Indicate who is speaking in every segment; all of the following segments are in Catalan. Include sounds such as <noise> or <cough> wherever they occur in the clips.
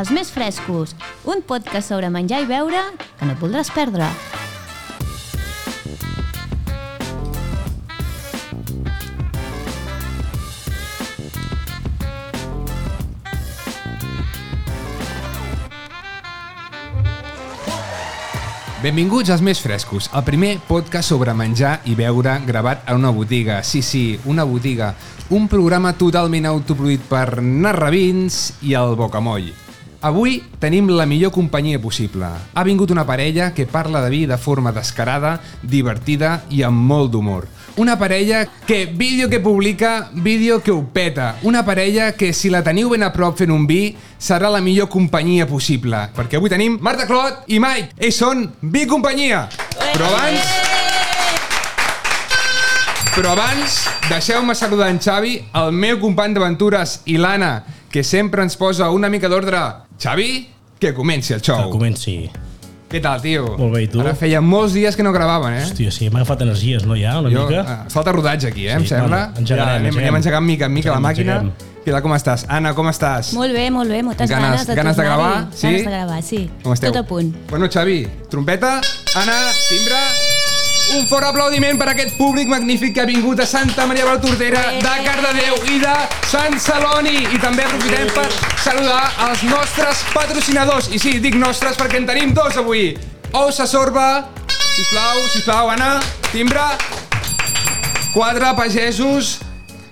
Speaker 1: Els més frescos, un podcast sobre menjar i beure que no et voldràs perdre.
Speaker 2: Benvinguts als Més Frescos, el primer podcast sobre menjar i beure gravat a una botiga. Sí, sí, una botiga. Un programa totalment autoproduït per Narrabins i el Bocamoll. Avui tenim la millor companyia possible. Ha vingut una parella que parla de vi de forma descarada, divertida i amb molt d'humor. Una parella que vídeo que publica, vídeo que ho peta. Una parella que si la teniu ben a prop fent un vi, serà la millor companyia possible. Perquè avui tenim Marta Clot i Mike. Ells són Vi Companyia. Però abans... Però abans, deixeu-me saludar en Xavi, el meu company d'aventures, i l'Anna, que sempre ens posa una mica d'ordre. Xavi, que comenci el
Speaker 3: Que
Speaker 2: xou.
Speaker 3: comenci.
Speaker 2: Què tal, tio?
Speaker 3: Molt bé, i tu?
Speaker 2: Ara feia molts dies que no gravaven, eh?
Speaker 3: Hòstia, sí, m'ha agafat energies, no, ja, una
Speaker 2: Jo,
Speaker 3: mica?
Speaker 2: eh, falta rodatge aquí, eh, em
Speaker 3: Sí,
Speaker 2: sembla.
Speaker 3: bueno, engegarem,
Speaker 2: ja, anem,
Speaker 3: engegarem.
Speaker 2: anem engegant mica en mica la
Speaker 3: Engegarem,
Speaker 2: màquina.
Speaker 3: engegarem.
Speaker 2: Pilar, com estàs? Anna, com estàs?
Speaker 1: Molt bé, molt bé, moltes
Speaker 2: Ganes-
Speaker 1: ganes, de
Speaker 2: ganes de
Speaker 1: tornar-hi.
Speaker 2: gravar, sí?
Speaker 1: Ganes de gravar, sí.
Speaker 2: Com esteu?
Speaker 1: Tot a punt.
Speaker 2: Bueno, Xavi, trompeta, Anna, timbre... Un fort aplaudiment per aquest públic magnífic que ha vingut de Santa Maria de la Tordera, de Cardedeu i de Sant Celoni. I també aprofitem per saludar els nostres patrocinadors. I sí, dic nostres perquè en tenim dos avui. Ou Sasorba, sisplau, sisplau, Anna, timbre, quatre pagesos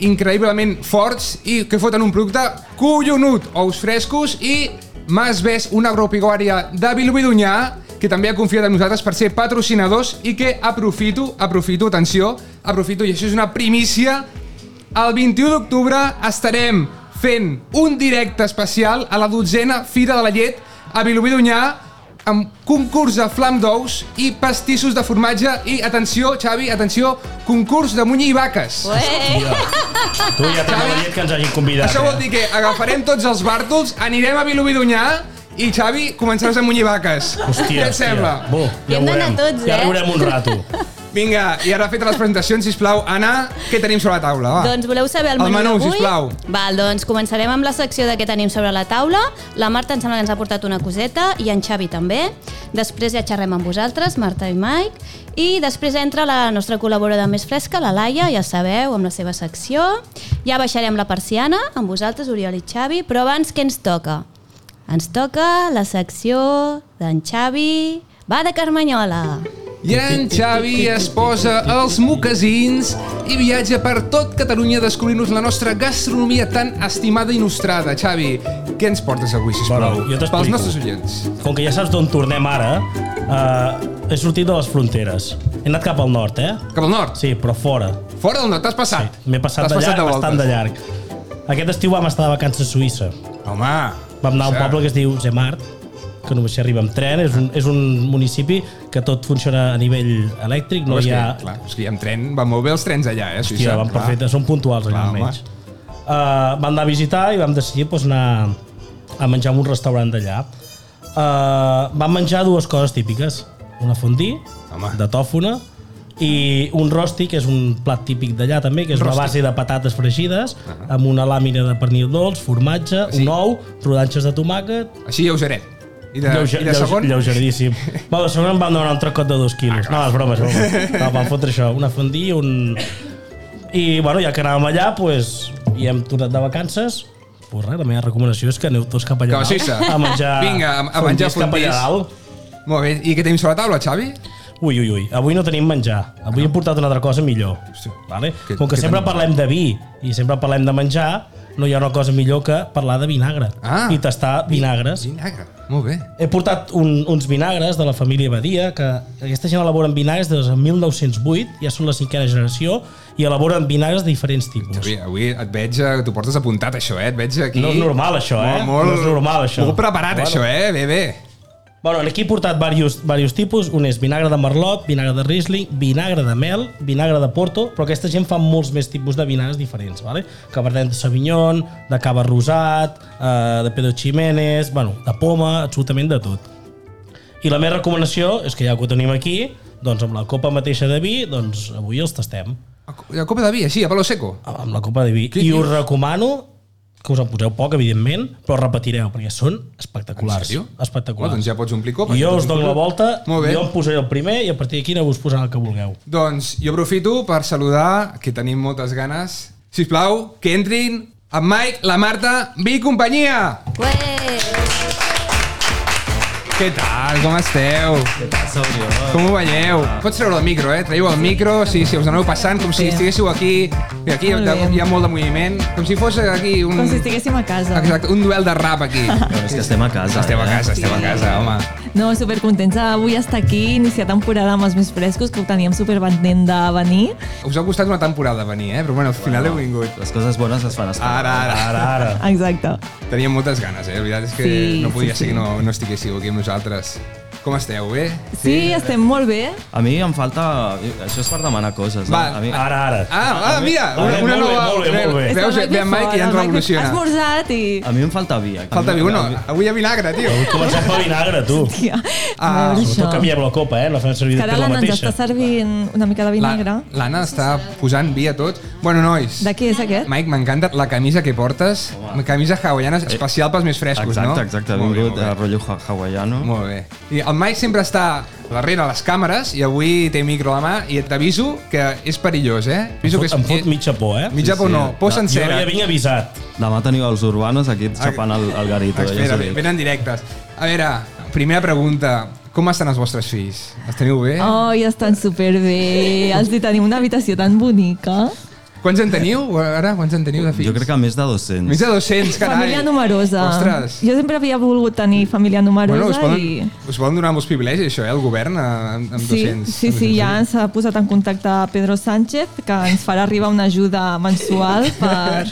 Speaker 2: increïblement forts i que foten un producte collonut, ous frescos i Mas Ves, una agropecuària de Vilobí d'Onyar, que també ha confiat en nosaltres per ser patrocinadors i que aprofito, aprofito, atenció, aprofito, i això és una primícia, el 21 d'octubre estarem fent un directe especial a la dotzena Fira de la Llet a Vilobí d'Onyar amb concurs de flam d'ous i pastissos de formatge i, atenció, Xavi, atenció, concurs de munyi i vaques.
Speaker 1: Ué,
Speaker 3: Tu ja t'has dit que ens hagin convidat.
Speaker 2: eh.
Speaker 3: eh?
Speaker 2: Això vol dir que agafarem tots els bàrtols, anirem a Vilobí d'Onyar i, Xavi, començaràs a munyi vaques. Què et sembla?
Speaker 3: Bo,
Speaker 1: Hi
Speaker 3: ja
Speaker 1: hem
Speaker 3: ho
Speaker 1: d'anar
Speaker 3: veurem.
Speaker 1: tots,
Speaker 3: ja
Speaker 1: eh?
Speaker 3: riurem un rato.
Speaker 2: Vinga, i ara fetes les presentacions, sisplau, Anna, què tenim sobre la taula? Va.
Speaker 1: Doncs voleu saber el
Speaker 2: El
Speaker 1: menú,
Speaker 2: menú,
Speaker 1: d'avui?
Speaker 2: Ah. sisplau.
Speaker 1: Val, doncs començarem amb la secció de què tenim sobre la taula. La Marta em sembla que ens ha portat una coseta i en Xavi també. Després ja xerrem amb vosaltres, Marta i Mike. I després entra la nostra col·laboradora més fresca, la Laia, ja sabeu, amb la seva secció. Ja baixarem la persiana amb vosaltres, Oriol i Xavi, però abans què ens toca? Ens toca la secció d'en Xavi... Va de Carmanyola!
Speaker 2: I en Xavi es posa els mocasins i viatja per tot Catalunya descobrint-nos la nostra gastronomia tan estimada i nostrada. Xavi, què ens portes avui, sisplau?
Speaker 3: Bueno, jo t'explico.
Speaker 2: Pels nostres oients.
Speaker 3: Com que ja saps d'on tornem ara, eh, he sortit de les fronteres. He anat cap al nord, eh?
Speaker 2: Cap al nord.
Speaker 3: Sí, però fora.
Speaker 2: Fora del nord, t'has passat.
Speaker 3: M'he passat
Speaker 2: T'has
Speaker 3: de llarg,
Speaker 2: voltes.
Speaker 3: bastant de llarg. Aquest estiu vam estar de vacances a Suïssa.
Speaker 2: Home,
Speaker 3: Vam anar a un
Speaker 2: Sí.
Speaker 3: poble que es diu Zemart, que només s'hi arriba amb tren, és un, és un municipi que tot funciona a nivell elèctric,
Speaker 2: no
Speaker 3: no
Speaker 2: és
Speaker 3: hi ha...
Speaker 2: que, clar, és que amb tren van molt bé els trens allà, eh? a Suïssa,
Speaker 3: Hòstia, van
Speaker 2: clar.
Speaker 3: perfecte, són puntuals allà
Speaker 2: Clar,
Speaker 3: almenys. Uh, vam anar a visitar i vam decidir pues, anar a menjar en un restaurant d'allà. Uh, vam menjar dues coses típiques, una fondí,
Speaker 2: Home.
Speaker 3: de tòfona, i un rosti, que és un plat típic d'allà també, que és una base de patates fregides, amb una làmina de pernil dolç, formatge,
Speaker 2: Sí.
Speaker 3: un ou, rodanxes de tomàquet,
Speaker 2: Així lleugeret. I de,
Speaker 3: Lleuger,
Speaker 2: i de segon?
Speaker 3: Lleugeríssim. Va, de segon em van donar un tracot de dos
Speaker 2: Ah,
Speaker 3: quilos. no, és broma, és broma. No, van fotre això, una fondí i un... I, bueno, ja que anàvem allà, pues, i hem tornat de vacances, pues res, la meva recomanació és que aneu tots cap allà
Speaker 2: Cap a Suïssa.
Speaker 3: a menjar,
Speaker 2: <laughs> Vinga, a- a menjar
Speaker 3: fondís cap
Speaker 2: fondís.
Speaker 3: allà dalt.
Speaker 2: Molt bé, i què tenim sobre la taula, Xavi?
Speaker 3: Ui, ui, ui, avui no tenim menjar. Avui hem portat una altra cosa millor.
Speaker 2: Ah, Hosti,
Speaker 3: Vale?
Speaker 2: què-
Speaker 3: Com que
Speaker 2: què
Speaker 3: sempre
Speaker 2: tenim?
Speaker 3: parlem de vi i sempre parlem de menjar, no hi ha una cosa millor que parlar de vinagre
Speaker 2: Ah.
Speaker 3: i tastar vinagres.
Speaker 2: Vinagre. Molt bé.
Speaker 3: He portat un, uns vinagres de la família Badia, que aquesta gent elaboren vinagres des de 1908, ja són la cinquena generació, i elaboren vinagres de diferents tipus.
Speaker 2: Xavi, avui et veig, eh, t'ho portes apuntat, això, eh? Et veig aquí...
Speaker 3: No és normal, això, eh?
Speaker 2: Molt,
Speaker 3: No és normal, això.
Speaker 2: Molt preparat,
Speaker 3: Bueno.
Speaker 2: això, eh? Bé, bé.
Speaker 3: Bueno, aquí he portat diversos, diversos tipus. Un és vinagre de merlot, vinagre de Riesling, vinagre de mel, vinagre de Porto, però aquesta gent fa molts més tipus de vinagres diferents, vale? Cabernet de Sauvignon, de cava rosat, eh, de Pedro Ximénez, bueno, de poma, absolutament de tot. I la meva recomanació és que ja que ho tenim aquí, doncs amb la copa mateixa de vi, doncs avui els tastem.
Speaker 2: A co- A copa de vi, així, a palo seco.
Speaker 3: Amb la copa de vi. I us recomano que us en poseu poc, evidentment, però repetireu, perquè són espectaculars.
Speaker 2: En sèrio? Oh,
Speaker 3: Espectaculars.
Speaker 2: doncs ja pots omplir copes.
Speaker 3: jo
Speaker 2: pots
Speaker 3: us dono
Speaker 2: omplir-
Speaker 3: la volta,
Speaker 2: Molt bé.
Speaker 3: jo em posaré el primer i a partir d'aquí aneu-vos posant el que vulgueu.
Speaker 2: Doncs jo aprofito per saludar, que tenim moltes ganes. Si plau, que entrin en Mike, la Marta, Vi i companyia.
Speaker 1: Ué!
Speaker 2: Què tal? Com esteu? Com ho veieu? Pots treure el micro, eh? Traieu el micro, si, si us aneu passant, com si estiguéssiu aquí, i aquí
Speaker 4: Molt
Speaker 2: de
Speaker 4: bé.
Speaker 2: cop hi ha molt de moviment, com si fos aquí un,
Speaker 4: Com si estiguéssim a casa.
Speaker 2: exacte, un duel de rap aquí.
Speaker 5: Però és que estem a casa.
Speaker 2: Esteu a casa, esteu a casa, home.
Speaker 4: No, supercontents d'avui estar aquí, iniciar temporada amb els més frescos, que ho teníem supervendent de venir.
Speaker 2: Us ha costat una temporada venir, eh? Però bueno, al final heu vingut.
Speaker 5: Les coses bones es fan esperar.
Speaker 2: Ara, ara, ara.
Speaker 3: Ara.
Speaker 4: Exacte.
Speaker 2: Teníem moltes ganes, eh? La veritat és que
Speaker 4: Sí,
Speaker 2: no podia
Speaker 4: sí,
Speaker 2: ser
Speaker 4: sí.
Speaker 2: que no, no estiguéssiu aquí amb nosaltres. Com esteu, bé?
Speaker 4: Sí, estem molt bé.
Speaker 5: A mi em falta... Això és per demanar coses.
Speaker 2: Va,
Speaker 5: no? a mi...
Speaker 3: Ara, ara.
Speaker 2: Ah, ah mira,
Speaker 3: Molt
Speaker 2: una,
Speaker 3: bé,
Speaker 2: una
Speaker 3: molt bé,
Speaker 2: nova...
Speaker 3: molt bé, molt bé.
Speaker 2: Veus,
Speaker 4: Estem aquí
Speaker 2: ve en Mike i ja ens
Speaker 4: fora, el Mike Ha
Speaker 2: revoluciona. Ah.
Speaker 4: esmorzat i...
Speaker 5: A mi em falta vi. Aquí.
Speaker 2: Falta viu, no?
Speaker 5: A mi-
Speaker 2: Avui hi ha vinagre, tio.
Speaker 3: Comencem pel vinagre, tu.
Speaker 4: Tia,
Speaker 2: Ah,
Speaker 4: a veure
Speaker 3: Sobretot
Speaker 4: això.
Speaker 3: canviem la copa, eh? No fem servir
Speaker 4: Cada
Speaker 3: després la
Speaker 4: l'Anna ens
Speaker 3: mateixa.
Speaker 4: està servint una mica de
Speaker 2: La-
Speaker 4: vinagre.
Speaker 2: L'Anna està posant vi a tot. Bueno, nois,
Speaker 4: De què és aquest?
Speaker 2: Mike, m'encanta la camisa que portes. Camisa hawaiana especial pels més frescos, no?
Speaker 5: Exacte, exacte. eh.
Speaker 2: Molt bé,
Speaker 5: Vingut
Speaker 2: molt
Speaker 5: a
Speaker 2: bé.
Speaker 5: rotllo ha- hawaiano.
Speaker 2: Molt bé. I el Mike sempre està darrere les càmeres i avui té micro a la mà i t'aviso que és perillós, eh? Aviso que és,
Speaker 3: Em fot mitja por, eh?
Speaker 2: mitja
Speaker 5: Sí,
Speaker 2: por
Speaker 5: sí.
Speaker 2: no, por
Speaker 5: Jo
Speaker 3: Jo
Speaker 2: sencera.
Speaker 3: ja vinc avisat.
Speaker 5: Demà teniu els urbanos aquí xapant el, el garito. ja us ho
Speaker 2: Espera,
Speaker 5: dic.
Speaker 2: venen directes. A veure, primera pregunta. Com estan els vostres fills? Els teniu bé?
Speaker 4: Oh, ja estan superbé. Els hi tenim una habitació tan bonica.
Speaker 2: Quants en teniu ara? Quants en teniu de fills?
Speaker 5: Jo crec que més de 200.
Speaker 2: Més de 200, carai.
Speaker 4: Família numerosa.
Speaker 2: Ostres.
Speaker 4: Jo sempre havia volgut tenir família numerosa
Speaker 2: Bueno, us
Speaker 4: i...
Speaker 2: poden, us poden donar molts privilegis, això, eh, el govern, eh, amb, amb
Speaker 4: Sí,
Speaker 2: 200.
Speaker 4: sí, sí, ja ens ha posat en contacte Pedro Sánchez, que ens farà arribar una ajuda
Speaker 2: <laughs>
Speaker 4: mensual per...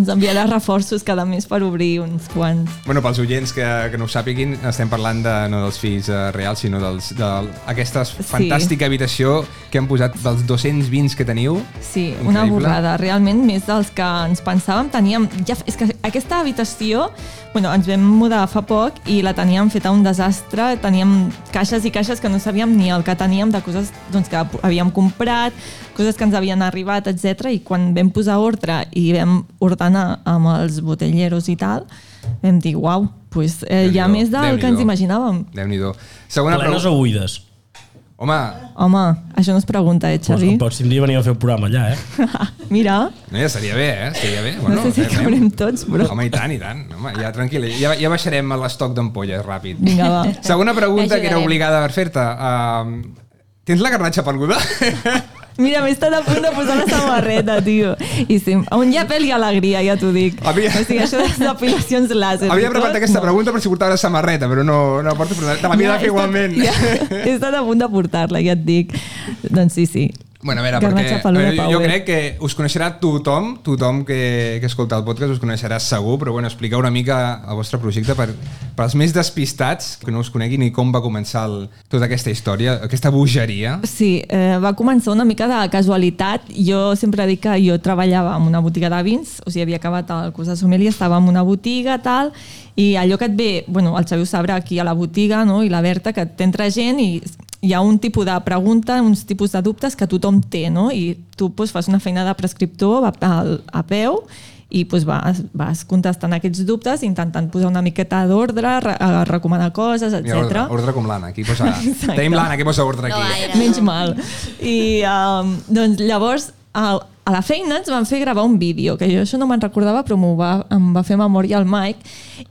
Speaker 4: Ens enviarà reforços cada mes per obrir uns quants.
Speaker 2: Bueno, pels oients que, que no ho sàpiguin, estem parlant de, no dels fills eh, reals, sinó dels, de aquesta fantàstica habitació que han posat dels 220 que teniu.
Speaker 4: Sí, una
Speaker 2: Increïble.
Speaker 4: borrada. Realment, més dels que ens pensàvem, teníem... Ja, és que aquesta habitació, bueno, ens vam mudar fa poc i la teníem feta un desastre, teníem caixes i caixes que no sabíem ni el que teníem de coses doncs, que havíem comprat, coses que ens havien arribat, etc. I quan vam posar ordre i vam ordenar amb els botelleros i tal, vam dir, uau, pues, eh, hi
Speaker 2: Déu-n'hi-do,
Speaker 4: ha més del que
Speaker 2: Déu-n'hi-do.
Speaker 4: ens imaginàvem.
Speaker 2: Déu-n'hi-do. Segona
Speaker 3: Plenes
Speaker 2: pregunta.
Speaker 3: o buides?
Speaker 2: Home,
Speaker 4: Home, això no es pregunta, eh,
Speaker 3: Pues,
Speaker 4: Xavi?
Speaker 3: pots tindria venir a fer el programa allà, eh?
Speaker 4: <laughs> Mira,
Speaker 2: no, ja seria bé, eh? Seria bé.
Speaker 4: no,
Speaker 2: Bueno,
Speaker 4: sé si
Speaker 2: anem.
Speaker 4: caurem tots, però...
Speaker 2: Home, i tant, i tant. Home, ja tranquil, ja, ja baixarem a l'estoc d'ampolles ràpid.
Speaker 4: Vinga, va.
Speaker 2: Segona pregunta que era
Speaker 1: Ajudarem.
Speaker 2: obligada per fer-te. Uh, tens la garnatxa pelguda?
Speaker 4: Mira, m'he estat a punt de posar la samarreta, tio. I sí, on hi ha pèl i alegria, ja t'ho dic.
Speaker 2: Havia-
Speaker 4: O sigui, això de les depilacions làser.
Speaker 2: Havia
Speaker 4: i
Speaker 2: preparat
Speaker 4: tot,
Speaker 2: aquesta
Speaker 4: no.
Speaker 2: pregunta per si portava la samarreta, però no, no la porto, però te l'havia de fer
Speaker 4: Ja, he estat-
Speaker 2: igualment.
Speaker 4: Ja, he estat a punt de portar-la, ja et dic. Doncs sí, sí.
Speaker 2: Bueno, a veure,
Speaker 4: Garnatxa
Speaker 2: perquè a
Speaker 4: peluda,
Speaker 2: veure, jo, jo
Speaker 4: Pau, eh?
Speaker 2: crec que us coneixerà tothom, tothom que, que escolta el podcast us coneixerà segur, però bueno, expliqueu una mica el vostre projecte per, per als més despistats que no us coneguin i com va començar el, tota aquesta història, aquesta bogeria.
Speaker 4: Sí, eh, va començar una mica de casualitat. Jo sempre dic que jo treballava en una botiga de vins, o sigui, havia acabat el curs de sommelier, estava en una botiga, tal, i allò que et ve, bueno, el Xavier ho sabrà aquí a la botiga, no?, i la Berta, que t'entra gent i hi ha un tipus de pregunta, uns tipus de dubtes que tothom té, no? I tu doncs, fas una feina de prescriptor a, a, a peu i doncs, vas, vas contestant aquests dubtes, intentant posar una miqueta d'ordre, re, eh, recomanar coses,
Speaker 2: Mira, ordre,
Speaker 4: etc.
Speaker 2: ordre com l'Anna, aquí posa...
Speaker 4: Exacte.
Speaker 2: Tenim l'Anna, que posa ordre
Speaker 1: No,
Speaker 2: aquí. eh?
Speaker 1: gaire.
Speaker 4: Menys mal. I um, doncs llavors a, a la feina ens van fer gravar un vídeo, que jo això no me'n recordava, però m'ho va, em va fer memòria el Mike,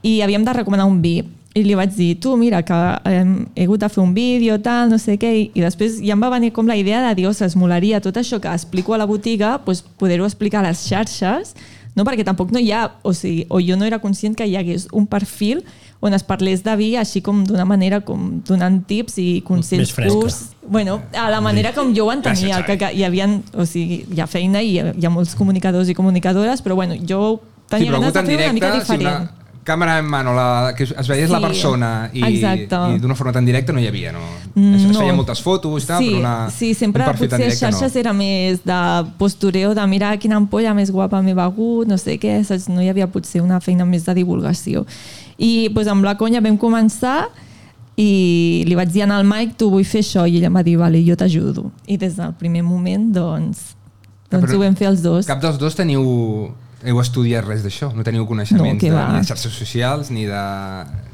Speaker 4: i havíem de recomanar un vi. I li vaig dir, tu, mira, que hem, he hagut de fer un vídeo, tal, no sé què, i, i després ja em va venir com la idea de dir, ostres, molaria tot això que explico a la botiga, doncs poder-ho explicar a les xarxes, no? perquè tampoc no hi ha, o sigui, o jo no era conscient que hi hagués un perfil on es parlés de vi així com d'una manera com donant tips i consells
Speaker 3: Més fresca.
Speaker 4: curts Bueno, a la manera com jo ho entenia,
Speaker 2: Gràcies,
Speaker 4: que, que hi havia, o sigui, hi ha feina i hi ha molts comunicadors i comunicadores, però bueno, jo
Speaker 2: Sí,
Speaker 4: tenia
Speaker 2: però
Speaker 4: ganes
Speaker 2: algú
Speaker 4: de
Speaker 2: en
Speaker 4: fer una mica
Speaker 2: directe, si
Speaker 4: diferent.
Speaker 2: una càmera en mano, la, que es veiés sí, la
Speaker 4: Sí,
Speaker 2: persona i,
Speaker 4: exacte.
Speaker 2: i d'una forma tan directa no hi havia, no?
Speaker 4: Mm,
Speaker 2: es, es
Speaker 4: no.
Speaker 2: feien moltes fotos, tal,
Speaker 4: sí,
Speaker 2: però una,
Speaker 4: sí, sempre
Speaker 2: un perfil tan
Speaker 4: potser a
Speaker 2: directe
Speaker 4: xarxes
Speaker 2: no.
Speaker 4: era més de postureo, de mirar quina ampolla més guapa m'he begut, no sé què, saps? no hi havia potser una feina més de divulgació. I doncs, amb la conya vam començar i li vaig dir al Mike, tu vull fer això, i ell em va dir, vale, jo t'ajudo. I des del primer moment, doncs,
Speaker 2: Ah,
Speaker 4: doncs
Speaker 2: Però
Speaker 4: ho vam fer els dos.
Speaker 2: Cap dels dos teniu heu estudiat res d'això, no teniu coneixements
Speaker 4: No, què
Speaker 2: de,
Speaker 4: va.
Speaker 2: ni de xarxes socials, ni de,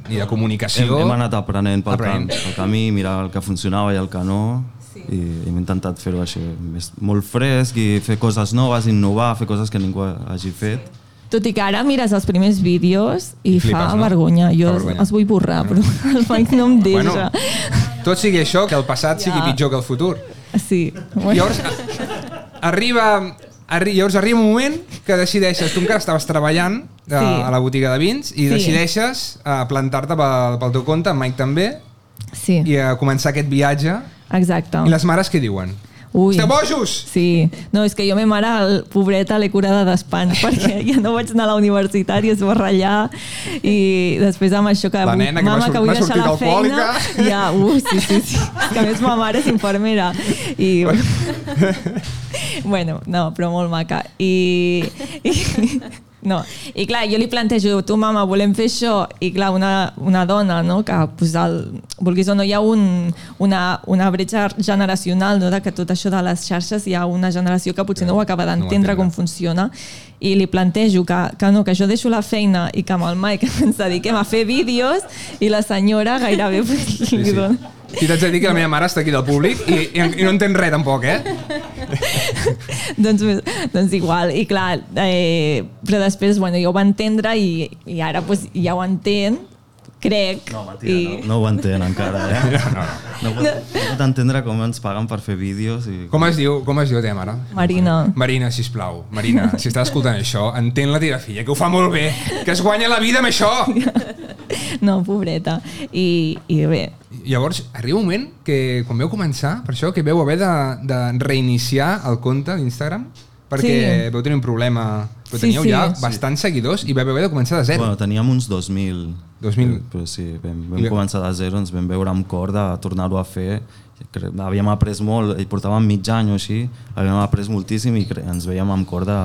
Speaker 2: ni de comunicació.
Speaker 5: Hem, hem anat aprenent pel
Speaker 2: Aprenent.
Speaker 5: camp, pel camí, mirar el que funcionava i el que no, sí. i hem intentat fer-ho així, més, molt fresc i fer coses noves, innovar, fer coses que ningú hagi fet.
Speaker 4: Tot i que ara mires els primers vídeos i,
Speaker 2: I
Speaker 4: I
Speaker 2: flipes,
Speaker 4: fa
Speaker 2: no?
Speaker 4: vergonya. Jo
Speaker 2: Fa
Speaker 4: els,
Speaker 2: vergonya. Mm.
Speaker 4: els vull borrar, però <laughs> el Mike no em
Speaker 2: Bueno,
Speaker 4: deixa.
Speaker 2: tot sigui això, que el passat sigui
Speaker 4: Ja.
Speaker 2: pitjor que el futur.
Speaker 4: Sí.
Speaker 2: Llavors, a- arriba, arri, llavors arriba un moment que decideixes, tu encara estaves treballant a, sí.
Speaker 4: Sí.
Speaker 2: a la botiga de vins i
Speaker 4: Sí.
Speaker 2: sí. decideixes a plantar-te pel, pel teu compte, en Mike també,
Speaker 4: Sí,
Speaker 2: i a començar aquest viatge.
Speaker 4: exacte.
Speaker 2: I les mares què diuen?
Speaker 4: Ui.
Speaker 2: Esteu bojos!
Speaker 4: Sí, no, és que jo a ma mare, el, pobreta, l'he curada d'espant, <laughs> perquè ja no vaig anar a la universitat i es va ratllar, i després amb això que...
Speaker 2: La
Speaker 4: avui-
Speaker 2: nena que m'ha
Speaker 4: mama,
Speaker 2: sor-
Speaker 4: que vull
Speaker 2: m'ha
Speaker 4: deixar
Speaker 2: sortit
Speaker 4: la
Speaker 2: alcohòlica.
Speaker 4: feina, ja, uh, sí, sí, sí, és que a més ma mare és infermera,
Speaker 2: <laughs>
Speaker 4: i... bueno, no, però molt maca. I, i no. I clar, jo li plantejo, tu mama, volem fer això, i clar, una, una dona, no?, que pues, el, vulguis o no, hi ha un, una, una bretxa generacional, no?, de que tot això de les xarxes hi ha una generació que potser no ho acaba d'entendre
Speaker 2: entendre.
Speaker 4: com funciona, i li plantejo que, que no, que jo deixo la feina i que amb el Mike <laughs> ens dediquem a fer vídeos i la senyora gairebé pues, sí,
Speaker 2: Sí,
Speaker 4: li
Speaker 2: sí.
Speaker 4: dona...
Speaker 2: I t'haig de dir que la meva mare està aquí del públic i, i, i no entén res tampoc, eh?
Speaker 4: <laughs> doncs, doncs igual, i clar, eh, però després, bueno, jo ho va entendre i, i ara pues, ja ho entén, crec.
Speaker 5: No, home, tia, no, no ho entén encara,
Speaker 2: <laughs>
Speaker 5: eh? No, no, no. pot, no pot entendre com ens paguen per fer vídeos i...
Speaker 2: Com es diu, com es diu la teva mare?
Speaker 4: Marina,
Speaker 2: Marina, si plau, Marina, si estàs escoltant això, entén la teva filla, que ho fa molt bé, que es guanya la vida amb això.
Speaker 4: no, pobreta. I, i bé,
Speaker 2: Llavors, arriba un moment que, quan veu començar, per això, que veu haver de, de reiniciar el compte d'Instagram, perquè
Speaker 4: Sí.
Speaker 2: sí. veu tenir un problema... Però
Speaker 4: Sí,
Speaker 2: teníeu
Speaker 4: sí.
Speaker 2: sí, ja sí. bastants seguidors i vau haver de començar de zero.
Speaker 5: Bueno, teníem uns 2.000.
Speaker 2: 2.000.
Speaker 5: Però sí, vam,
Speaker 2: I-
Speaker 5: vam començar de zero, ens vam veure amb cor de tornar-ho a fer. Cre- Havíem après molt, i portàvem mig any o així, havíem après moltíssim i cre- ens veiem amb cor de,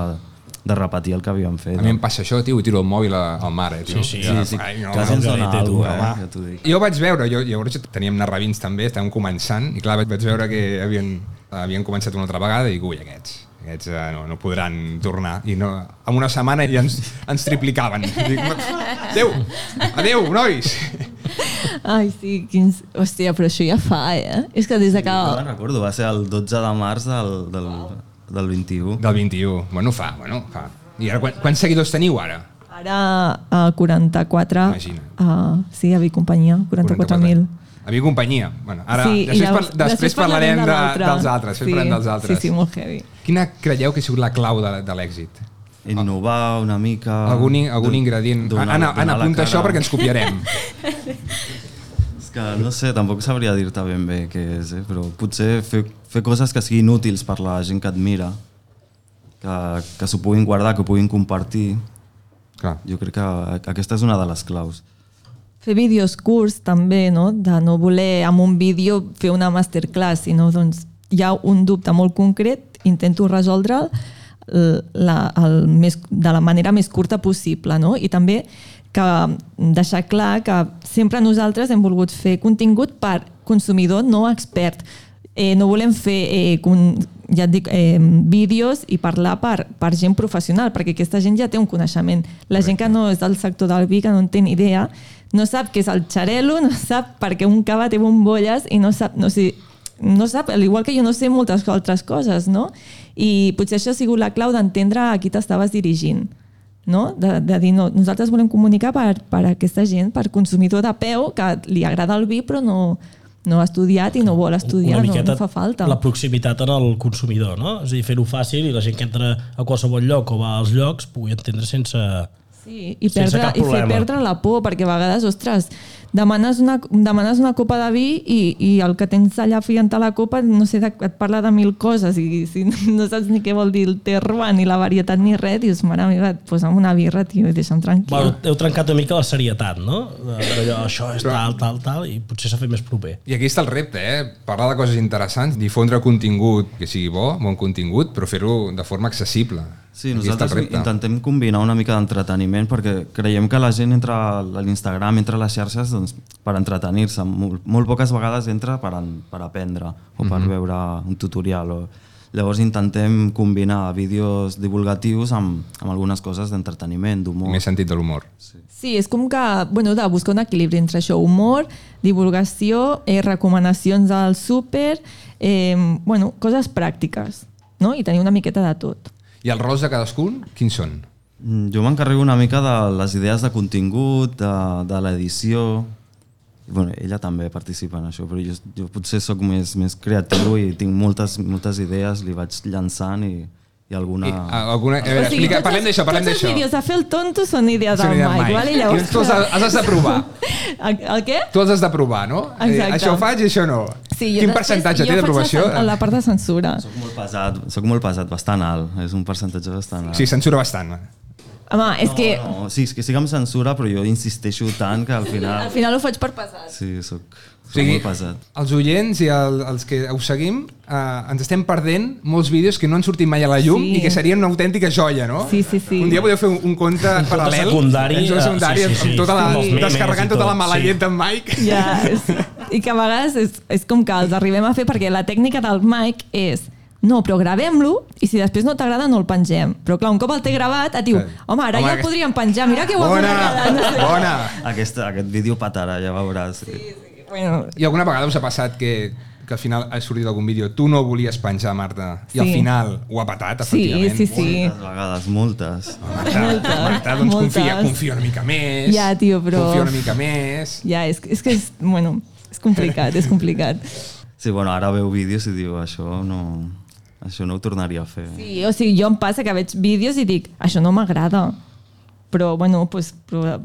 Speaker 5: de repetir el que havíem fet.
Speaker 2: A mi em passa això, tio, i tiro el mòbil a- al mar, eh, tio.
Speaker 3: Sí, sí.
Speaker 5: Sí, sí,
Speaker 2: Ai, no,
Speaker 5: quasi ens
Speaker 3: no,
Speaker 5: dona
Speaker 3: no, no,
Speaker 5: alguna
Speaker 3: no,
Speaker 5: cosa,
Speaker 3: no,
Speaker 5: eh?
Speaker 3: no.
Speaker 5: ja t'ho dic.
Speaker 2: Jo vaig veure, jo, llavors teníem narravins també, estàvem començant, i clar, vaig, vaig veure que havien, havien començat una altra vegada i dic, ui, aquests, aquests eh, no, no podran tornar. I no, en una setmana ja ens, ens triplicaven. <laughs> Dic, adéu, adéu, nois.
Speaker 4: ai, sí, quins... Hòstia, però això ja fa, eh? És que des de que...
Speaker 5: No me'n recordo, va ser el 12 de març del, del, del 21.
Speaker 2: Del 21. Bueno, fa, bueno, fa. I ara, quan, quants seguidors teniu ara?
Speaker 4: Ara a 44...
Speaker 2: Imagina.
Speaker 4: Uh, sí, a Vicompanyia, 44.000.
Speaker 2: A mi companyia. Bueno, ara, sí,
Speaker 4: sí, i
Speaker 2: després,
Speaker 4: llavors-
Speaker 2: par després, parlarem de,
Speaker 4: l'altre.
Speaker 2: dels altres. Després sí, parlarem dels altres.
Speaker 4: Sí, sí, molt heavy.
Speaker 2: Quina creieu que ha sigut la clau de, de l'èxit?
Speaker 5: Innovar una mica...
Speaker 2: Algun, in- algun
Speaker 5: do-
Speaker 4: Ah,
Speaker 2: ingredient.
Speaker 5: donar-
Speaker 2: Anna, Anna
Speaker 5: donar la
Speaker 2: apunta això
Speaker 5: cara.
Speaker 2: perquè ens
Speaker 4: <laughs>
Speaker 2: copiarem.
Speaker 5: És que no sé, tampoc sabria dir-te ben bé què és, eh? però potser fer, fer coses que siguin útils per la gent que et mira, que, que s'ho puguin guardar, que ho puguin compartir.
Speaker 2: Clar.
Speaker 5: Jo crec que a- aquesta és una de les claus.
Speaker 4: fer vídeos curts també, no? de no voler amb un vídeo fer una masterclass, sinó doncs, hi ha un dubte molt concret, intento resoldre'l l- la, el més, de la manera més curta possible. No? I també que mm, deixar clar que sempre nosaltres hem volgut fer contingut per consumidor no expert. Eh, no volem fer eh, con, ja et dic, eh, vídeos i parlar per, per gent professional, perquè aquesta gent ja té un coneixement. La gent que no és del sector del vi, que no en té ni idea, no sap què és el xarelo, no sap per què un cava té bombolles i no sap, no, o sigui, no sap, al igual que jo no sé moltes altres coses, no? I potser això ha sigut la clau d'entendre a qui t'estaves dirigint, no? De, de dir, no, nosaltres volem comunicar per, per aquesta gent, per consumidor de peu, que li agrada el vi però no, no ha estudiat i no vol estudiar, no, no fa falta.
Speaker 3: la proximitat en el consumidor, no? És a dir, fer-ho fàcil i la gent que entra a qualsevol lloc o va als llocs pugui entendre sense...
Speaker 4: Sí, i,
Speaker 3: Sense
Speaker 4: perdre,
Speaker 3: cap
Speaker 4: i fer
Speaker 3: problema.
Speaker 4: perdre la por, perquè a vegades, ostres, demanes una, demanes una copa de vi i, i el que tens allà fiant a la copa no sé, de- et parla de mil coses i si <laughs> no saps ni què vol dir el terroir ni la varietat ni res, dius, mare meva, et posa'm una birra, tio, i deixa'm tranquil.
Speaker 3: Bueno, heu trencat una mica la serietat, no? D'allò, això és tal, tal, tal, i potser s'ha fet més proper.
Speaker 2: I aquí està el repte, eh? Parlar de coses interessants, difondre contingut que sigui bo, bon contingut, però fer-ho de forma accessible.
Speaker 5: Sí,
Speaker 2: Aquí
Speaker 5: nosaltres intentem combinar una mica d'entreteniment perquè creiem que la gent entra a l'Instagram, entra a les xarxes doncs, per entretenir-se. Molt, molt poques vegades entra per, en, per aprendre o per veure un tutorial. O... Llavors intentem combinar vídeos divulgatius amb, amb algunes coses d'entreteniment, d'humor.
Speaker 2: Més sentit de l'humor.
Speaker 4: Sí, és com que, bueno, de buscar un equilibri entre això, humor, divulgació, eh, recomanacions al súper, eh, bueno, coses pràctiques, no? I tenir una miqueta de tot.
Speaker 2: I els rols de cadascun, quins són?
Speaker 5: Mm, Jo m'encarrego una mica de les idees de contingut, de, de l'edició... Bueno, ella també participa en això, però jo, jo potser sóc més, més creatiu i tinc moltes, moltes idees, li vaig llançant i, i alguna...
Speaker 2: I, ah. a- alguna, a veure, explica,
Speaker 4: Ah. tots
Speaker 2: parlem
Speaker 4: els-
Speaker 2: d'això, parlem
Speaker 4: Tots els
Speaker 2: d'això.
Speaker 4: vídeos de fer el tonto són idees
Speaker 2: Això no
Speaker 4: del
Speaker 2: hi ha
Speaker 4: Mike,
Speaker 2: mai.
Speaker 4: vale?
Speaker 2: I
Speaker 4: Llavors,
Speaker 2: tu els has els has de provar.
Speaker 4: el, el què?
Speaker 2: Tu els has de provar, no? Eh,
Speaker 4: Exacte.
Speaker 2: Això ho faig i això no. Quin
Speaker 4: després-
Speaker 2: percentatge
Speaker 4: jo
Speaker 2: té
Speaker 4: faig la
Speaker 2: d'aprovació?
Speaker 4: cen- La part de censura.
Speaker 5: Soc molt pesat, soc molt pesat, bastant alt, és un percentatge bastant alt.
Speaker 2: Sí, censura bastant.
Speaker 4: Home, és que
Speaker 5: No, sí, és que sí que em censura, però jo insisteixo tant que al final...
Speaker 4: <laughs> al final ho faig per pesar.
Speaker 5: Sí, soc, soc
Speaker 2: O sigui,
Speaker 5: molt pesat.
Speaker 2: els oients i el, els que ho seguim eh, ens estem perdent molts vídeos que no han sortit mai a la llum
Speaker 4: Sí.
Speaker 2: i que serien una autèntica jolla, no?
Speaker 4: Sí, sí, sí.
Speaker 2: Un dia podeu fer un, un conte paral·lel,
Speaker 3: secundari,
Speaker 2: un
Speaker 3: eh,
Speaker 2: joc secundari,
Speaker 3: sí, sí, sí.
Speaker 2: amb tota la,
Speaker 3: Amb els memes
Speaker 2: descarregant
Speaker 3: i
Speaker 2: tota la
Speaker 3: tot,
Speaker 2: mala
Speaker 3: sí.
Speaker 2: llet d'en Mike.
Speaker 4: Ja, és, I que a vegades és, és com que els arribem a fer perquè la tècnica del Mike és no, però gravem-lo i si després no t'agrada no el pengem. Però clar, un cop el té gravat et diu,
Speaker 2: Sí.
Speaker 4: home, ara
Speaker 2: Eh, Home,
Speaker 4: ja el
Speaker 2: que-
Speaker 4: podríem penjar, mira que guapo
Speaker 2: Bona,
Speaker 4: m'agrada", no sé.
Speaker 2: bona.
Speaker 5: Aquesta, aquest vídeo petarà, ja veuràs. Sí.
Speaker 4: Bueno,
Speaker 2: I alguna vegada us ha passat que, que al final ha sortit algun vídeo, tu no volies penjar, Marta, i al
Speaker 4: Sí.
Speaker 2: final ho ha patat,
Speaker 4: sí,
Speaker 2: efectivament.
Speaker 4: sí, sí.
Speaker 5: Moltes vegades, moltes.
Speaker 2: Marta, Marta doncs
Speaker 4: Moltes.
Speaker 2: confia, confia una mica més.
Speaker 4: Ja, tio, però-
Speaker 2: Confia una mica més.
Speaker 4: Ja, és, és que és, bueno, és complicat, és complicat.
Speaker 5: Sí, bueno, ara veu vídeos i diu, això no, això no ho tornaria a fer.
Speaker 4: Sí, o sigui, jo em passa que veig vídeos i dic, això no m'agrada. Però, bueno, pues, però,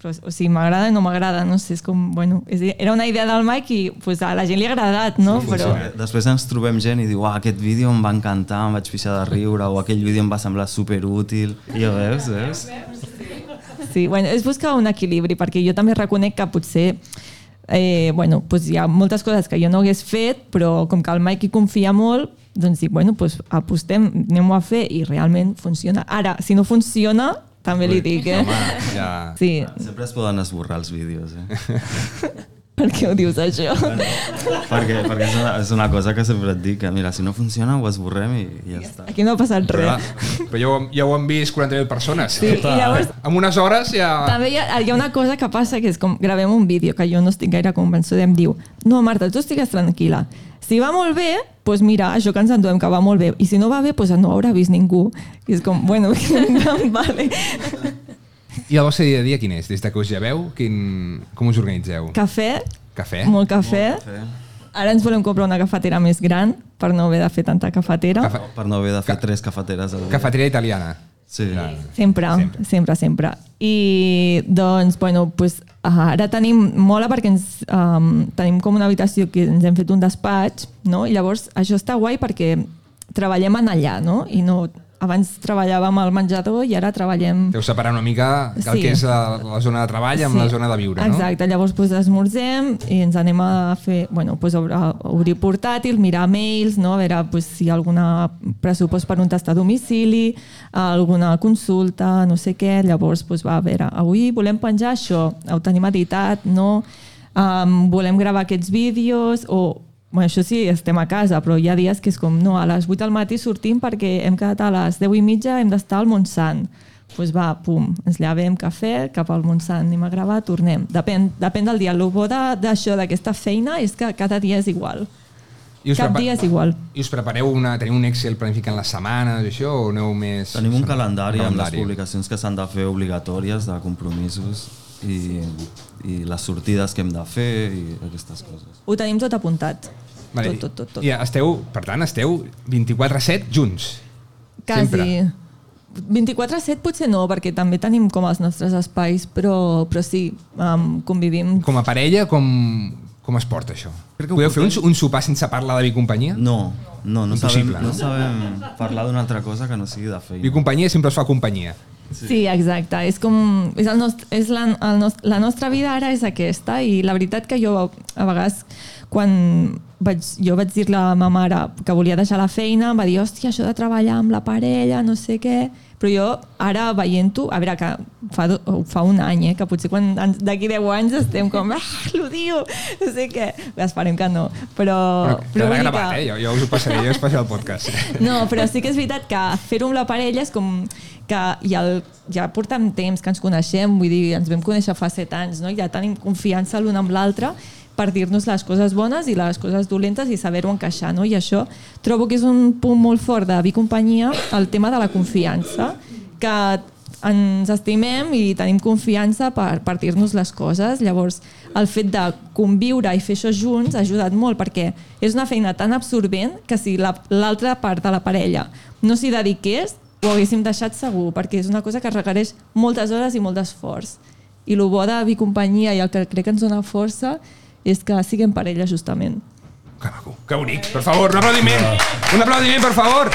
Speaker 4: però, o sigui, m'agrada i no m'agrada, no sé, és com, bueno, és, a dir, era una idea del Mike i pues, a la gent li ha agradat, no? Sí, però,
Speaker 5: Però després ens trobem gent i diu, ah, aquest vídeo em va encantar, em vaig pixar de riure, o aquell vídeo em va semblar superútil. I ja veus, veus?
Speaker 4: sí, bueno, és buscar un equilibri, perquè jo també reconec que potser eh, bueno, pues hi ha moltes coses que jo no hagués fet, però com que el Mike hi confia molt, doncs dic, bueno, pues apostem, anem-ho a fer, i realment funciona. Ara, si no funciona, també li dic, eh?
Speaker 2: Home, ja...
Speaker 4: Sí,
Speaker 5: Sempre es poden esborrar els vídeos, <laughs> eh?
Speaker 4: per què ho dius, això?
Speaker 5: perquè perquè és, una, és una cosa que sempre et dic, que mira, si no funciona ho esborrem i, i ja està.
Speaker 4: Aquí no ha passat
Speaker 2: Però,
Speaker 4: res.
Speaker 2: però ja, ho, ja ho han vist 40.000 persones.
Speaker 4: Sí, i llavors,
Speaker 2: En unes hores ja...
Speaker 4: també hi ha, hi ha una cosa que passa, que és com gravem un vídeo que jo no estic gaire convençuda i em diu no, Marta, tu estigues tranquil·la. Si va molt bé, doncs mira, això que ens enduem que va molt bé. I si no va bé, doncs no ho haurà vist ningú. I és com, bueno, <laughs> vale.
Speaker 2: I el vostre dia a dia quin és? Des de que us ja veu, quin, com us organitzeu?
Speaker 4: Cafè,
Speaker 2: Cafè?
Speaker 4: molt cafè. Ara ens volem comprar una cafetera més gran per no haver de fer tanta cafetera.
Speaker 2: Cafè.
Speaker 5: Per no haver de fer
Speaker 2: Ca-
Speaker 5: tres cafeteres al dia.
Speaker 2: Cafeteria italiana.
Speaker 5: Sí.
Speaker 4: Sempre, sempre, sempre. sempre. I doncs, bueno, pues, ara tenim mola perquè ens, um, tenim com una habitació que ens hem fet un despatx, no? I llavors això està guai perquè treballem en allà, no? I no abans treballàvem al menjador i ara treballem...
Speaker 2: Deu separar una mica el
Speaker 4: Sí.
Speaker 2: que és la, la zona de treball amb la zona de viure, no?
Speaker 4: Exacte, llavors pues, esmorzem i ens anem a fer, bueno, pues, obre, a obrir portàtil, mirar mails, no? a veure pues, si hi ha algun pressupost per un tast a domicili, alguna consulta, no sé què, llavors pues, va, a veure, avui volem penjar això, ho tenim editat, no? Um, volem gravar aquests vídeos o Bueno, això sí, estem a casa, però hi ha dies que és com, no, a les 8 del matí sortim perquè hem quedat a les 10 i mitja, hem d'estar al Montsant pues va, pum, ens llevem cafè, cap al Montsant anem a gravar, tornem. Depèn, depèn del dia. El bo de- d'això, d'aquesta feina, és que cada dia és igual.
Speaker 2: I us
Speaker 4: Cap
Speaker 2: prepa-
Speaker 4: dia és igual.
Speaker 2: I us prepareu una... Teniu un Excel planificant les setmanes i això, o aneu més...
Speaker 5: Tenim un calendari, amb les
Speaker 2: Calendari.
Speaker 5: publicacions que s'han de fer obligatòries de compromisos i, i les sortides que hem de fer i aquestes coses.
Speaker 4: Ho tenim tot apuntat.
Speaker 2: Vale.
Speaker 4: Tot, tot, tot. tot.
Speaker 2: I esteu, per tant, esteu 24-7 junts.
Speaker 4: Quasi.
Speaker 2: sempre.
Speaker 4: 24-7 potser no, perquè també tenim com els nostres espais, però, però sí, um, convivim.
Speaker 2: Com a parella, com, com es porta això? Podeu fer un, un sopar sense parlar de Vicompanyia?
Speaker 5: No, no, no sabem,
Speaker 2: Impossible, no?
Speaker 5: no sabem parlar d'una altra cosa que no sigui de feina.
Speaker 2: Vicompanyia sempre es fa companyia.
Speaker 4: Sí, sí exacte. És com... És, el nostre, és la, el nos, la nostra vida ara és aquesta i la veritat que jo a vegades quan vaig, jo vaig dir-la a ma mare que volia deixar la feina, em va dir, hòstia, això de treballar amb la parella, no sé què... però jo ara veient-ho, a veure, que fa, do- ho fa un any, eh, que potser quan ens- d'aquí 10 anys estem com, ah, l'odio, no sé què, esperem que no, però...
Speaker 3: Oh,
Speaker 2: Però l'ha
Speaker 4: vull dir
Speaker 2: gravat,
Speaker 4: que-
Speaker 2: eh? Jo, jo us ho passaré, jo us passaré el podcast.
Speaker 4: <laughs> no, però sí que és veritat que fer-ho amb la parella és com que ja, el, ja portem temps que ens coneixem, vull dir, ens vam conèixer fa set anys, no? ja tenim confiança l'un amb l'altre per dir-nos les coses bones i les coses dolentes i saber-ho encaixar, no? I això trobo que és un punt molt fort de Bicompanyia, el tema de la confiança, que ens estimem i tenim confiança per partir-nos les coses. Llavors, el fet de conviure i fer això junts ha ajudat molt perquè és una feina tan absorbent que si la- l'altra la, part de la parella no s'hi dediqués, ho haguéssim deixat segur, perquè és una cosa que requereix moltes hores i molt d'esforç. I el bo de Bicompanyia i el que crec que ens dona força és que siguem parella, justament.
Speaker 2: Que maco, que bonic. Per favor, un aplaudiment. Un aplaudiment, per favor.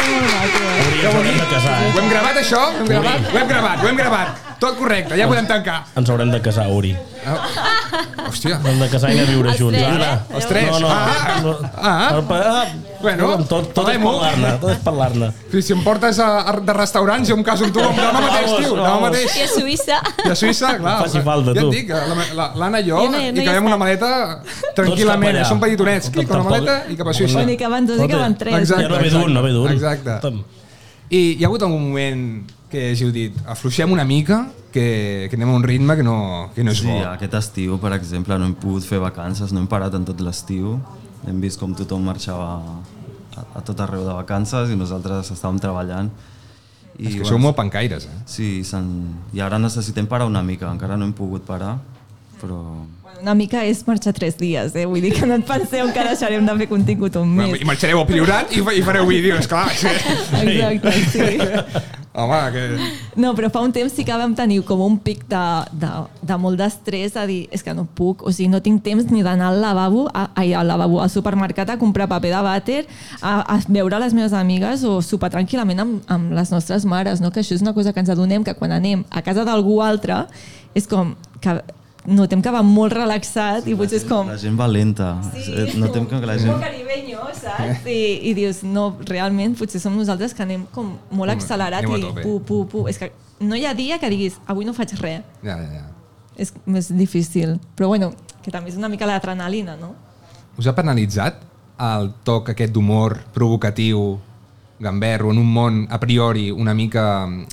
Speaker 3: Hauríem hauríem de casar,
Speaker 2: Ho
Speaker 3: eh?
Speaker 2: hem gravat, això? Ho hem gravat? Ho hem gravat, ho hem gravat. Tot correcte, ja podem tancar.
Speaker 3: Ens haurem de casar, Uri.
Speaker 2: Hòstia.
Speaker 3: Ens hem de casar i anar a viure
Speaker 1: Els
Speaker 3: junts.
Speaker 1: tres,
Speaker 3: Ara.
Speaker 1: eh?
Speaker 2: Els tres?
Speaker 3: No, no.
Speaker 2: Ah,
Speaker 3: no.
Speaker 2: ah.
Speaker 3: El pa- ah.
Speaker 2: Bueno,
Speaker 3: No, tot, tot és
Speaker 2: parlem-ho.
Speaker 3: parlar-ne. Tot és parlar-ne.
Speaker 2: Si, si em portes a, a, de restaurants, jo em caso amb tu amb demà mateix, tio. Demà
Speaker 3: Vamos,
Speaker 2: mateix.
Speaker 1: I a Suïssa.
Speaker 2: I a
Speaker 3: <laughs>
Speaker 2: Suïssa, clar.
Speaker 3: No faci falta,
Speaker 2: ja
Speaker 3: tu.
Speaker 2: et dic, la- la- l'Anna i jo,
Speaker 1: Jo no- no
Speaker 2: i
Speaker 1: hi
Speaker 2: cabem
Speaker 1: he
Speaker 2: una maleta tranquil·lament.
Speaker 3: allà.
Speaker 2: Som petitonets. Clic, amb la
Speaker 3: Tampoc-
Speaker 2: maleta i cap a Suïssa.
Speaker 4: Bueno, ni que abans dos ni que abans tres.
Speaker 2: Exacte,
Speaker 3: Ja no ve
Speaker 2: exacte.
Speaker 3: d'un, no ve d'un.
Speaker 2: Exacte. I hi ha hagut algun moment que hàgiu dit afluixem una mica, que, que anem a un ritme que no, que no és
Speaker 5: Sí,
Speaker 2: bo.
Speaker 5: aquest estiu, per exemple, no hem pogut fer vacances, no hem parat en tot l'estiu. Hem vist com tothom marxava a, a tot arreu de vacances i nosaltres estàvem treballant. I,
Speaker 2: és que
Speaker 5: bueno,
Speaker 2: sou molt pancaires, eh?
Speaker 5: Sí, se'n- i ara necessitem parar una mica, encara no hem pogut parar, però...
Speaker 4: Una mica és marxar tres dies, eh? Vull dir que no et penseu que deixarem de fer contingut un
Speaker 2: Bueno,
Speaker 4: mes.
Speaker 2: I marxareu al Priorat i, fa- i fareu vídeos, clar.
Speaker 4: <laughs> Exacte,
Speaker 2: <laughs>
Speaker 4: sí.
Speaker 2: Home, que...
Speaker 4: No, però fa un temps sí que vam tenir com un pic de, de, de molt d'estrès, a dir, és que no puc, o sigui, no tinc temps ni d'anar al lavabo, a, ai, al lavabo, al supermercat a comprar paper de vàter, a, a veure les meves amigues o sopar tranquil·lament amb, amb les nostres mares, no? que això és una cosa que ens adonem, que quan anem a casa d'algú altre, és com que notem que va molt relaxat i potser és com...
Speaker 5: La gent va lenta. Eh, Notem que la gent...
Speaker 4: Un caribenyo, saps? I, I dius, no, realment, potser som nosaltres que anem com molt accelerat
Speaker 2: Anem a
Speaker 4: i
Speaker 2: tope.
Speaker 4: pu, pu, pu. És que no hi ha dia que diguis, avui no faig res.
Speaker 2: Ja, ja, ja.
Speaker 4: És més difícil. Però bueno, que també és una mica l'adrenalina, no?
Speaker 2: Us ha penalitzat el toc aquest d'humor provocatiu, gamberro, en un món a priori una mica mm,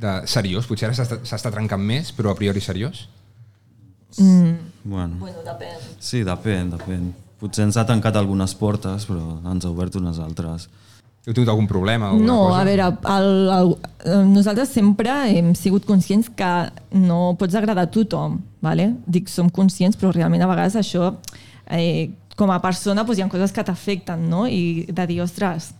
Speaker 2: de seriós? Potser ara s'està s'està trencant més, però a priori seriós?
Speaker 5: Bueno,
Speaker 4: Bueno, depèn.
Speaker 5: sí, depèn, depèn. Potser ens ha tancat algunes portes, però ens ha obert unes altres.
Speaker 2: Heu tingut algun problema? o alguna
Speaker 4: No,
Speaker 2: cosa?
Speaker 4: a veure, el, el, eh, nosaltres sempre hem sigut conscients que no pots agradar a tothom, vale? dic som conscients, però realment a vegades això, eh, com a persona, doncs hi ha coses que t'afecten, no? I de dir, ostres,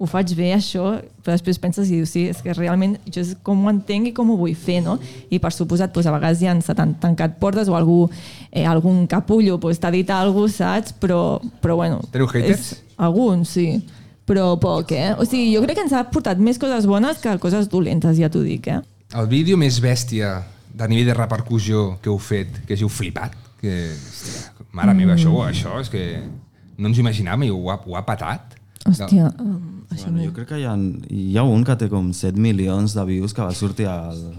Speaker 4: ho faig bé això, però després penses i dius, sí, és que realment jo és com ho entenc i com ho vull fer, no? I per suposat, doncs, a vegades ja ens han tancat portes o algú, eh, algun capullo doncs, t'ha dit alguna cosa, saps? Però, però bueno...
Speaker 2: Teniu haters?
Speaker 4: és- alguns, sí. Però poc, eh? O sigui, jo crec que ens ha portat més coses bones que coses dolentes, ja t'ho dic, eh?
Speaker 2: El vídeo més bèstia de nivell de repercussió que heu fet, que hàgiu flipat, que, hòstia, mare meva, això,
Speaker 4: Mm.
Speaker 2: això és que no ens ho imaginàvem i ho ha, ho ha patat.
Speaker 4: Hòstia, um, així
Speaker 5: Bueno, jo crec que hi ha, hi ha un que té com 7 milions de views que va sortir al,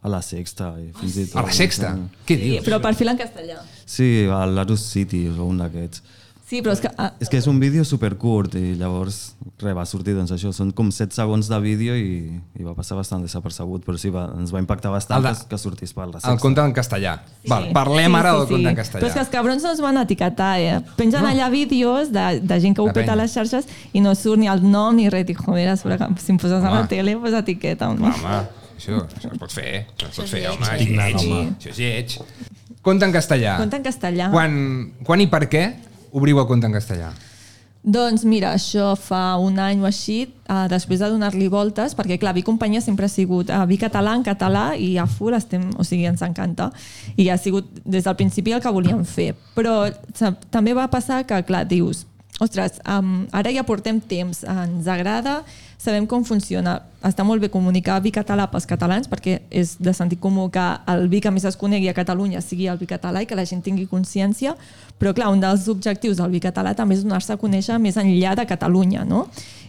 Speaker 5: a la sexta. I fins i tot,
Speaker 2: A la sexta? Què
Speaker 4: Sí,
Speaker 2: dius?
Speaker 4: però perfil en castellà.
Speaker 5: Sí, a l'Arus City o un d'aquests.
Speaker 4: Sí, però és que... Ah,
Speaker 5: És que és un vídeo supercurt i llavors re, va sortir doncs això, són com 7 segons de vídeo i, i va passar bastant desapercebut, però sí, va, ens va impactar
Speaker 2: El
Speaker 5: bastant
Speaker 2: de-
Speaker 5: de... que, que sortís per la
Speaker 2: El
Speaker 5: sexta.
Speaker 2: conte en castellà. Sí. Val, parlem sí, ara del conte en castellà.
Speaker 4: Però és que els cabrons no es van etiquetar, eh? Pengen no. allà vídeos de, de gent que ho
Speaker 2: La
Speaker 4: peta
Speaker 2: penya.
Speaker 4: a les xarxes i no surt ni el nom ni res. Dic, joder, a sobre que si em poses a la
Speaker 2: Home.
Speaker 4: tele, pues etiqueta.
Speaker 2: Clar, home, això, això es pot fer, això es pot fer, home, és
Speaker 3: Indignant,
Speaker 2: lleig,
Speaker 3: home.
Speaker 2: això és lleig. Conte en castellà.
Speaker 4: Conte en castellà.
Speaker 2: Quan, quan i per què obriu el conte en castellà?
Speaker 4: Doncs mira, això fa un any o així, eh, després de donar-li voltes, perquè clar, Bicompanyia sempre ha sigut eh, Bicatalà en català i a full estem, o sigui, ens encanta, i ha sigut des del principi el que volíem fer. Però sa- també va passar que, clar, dius, ostres, um, ara ja portem temps, ens agrada, sabem com funciona. Està molt bé comunicar bicatalà pels catalans perquè és de sentit comú que el vi que més es conegui a Catalunya sigui el bicatalà i que la gent tingui consciència, però clar, un dels objectius del bicatalà també és donar-se a conèixer més enllà de Catalunya, no?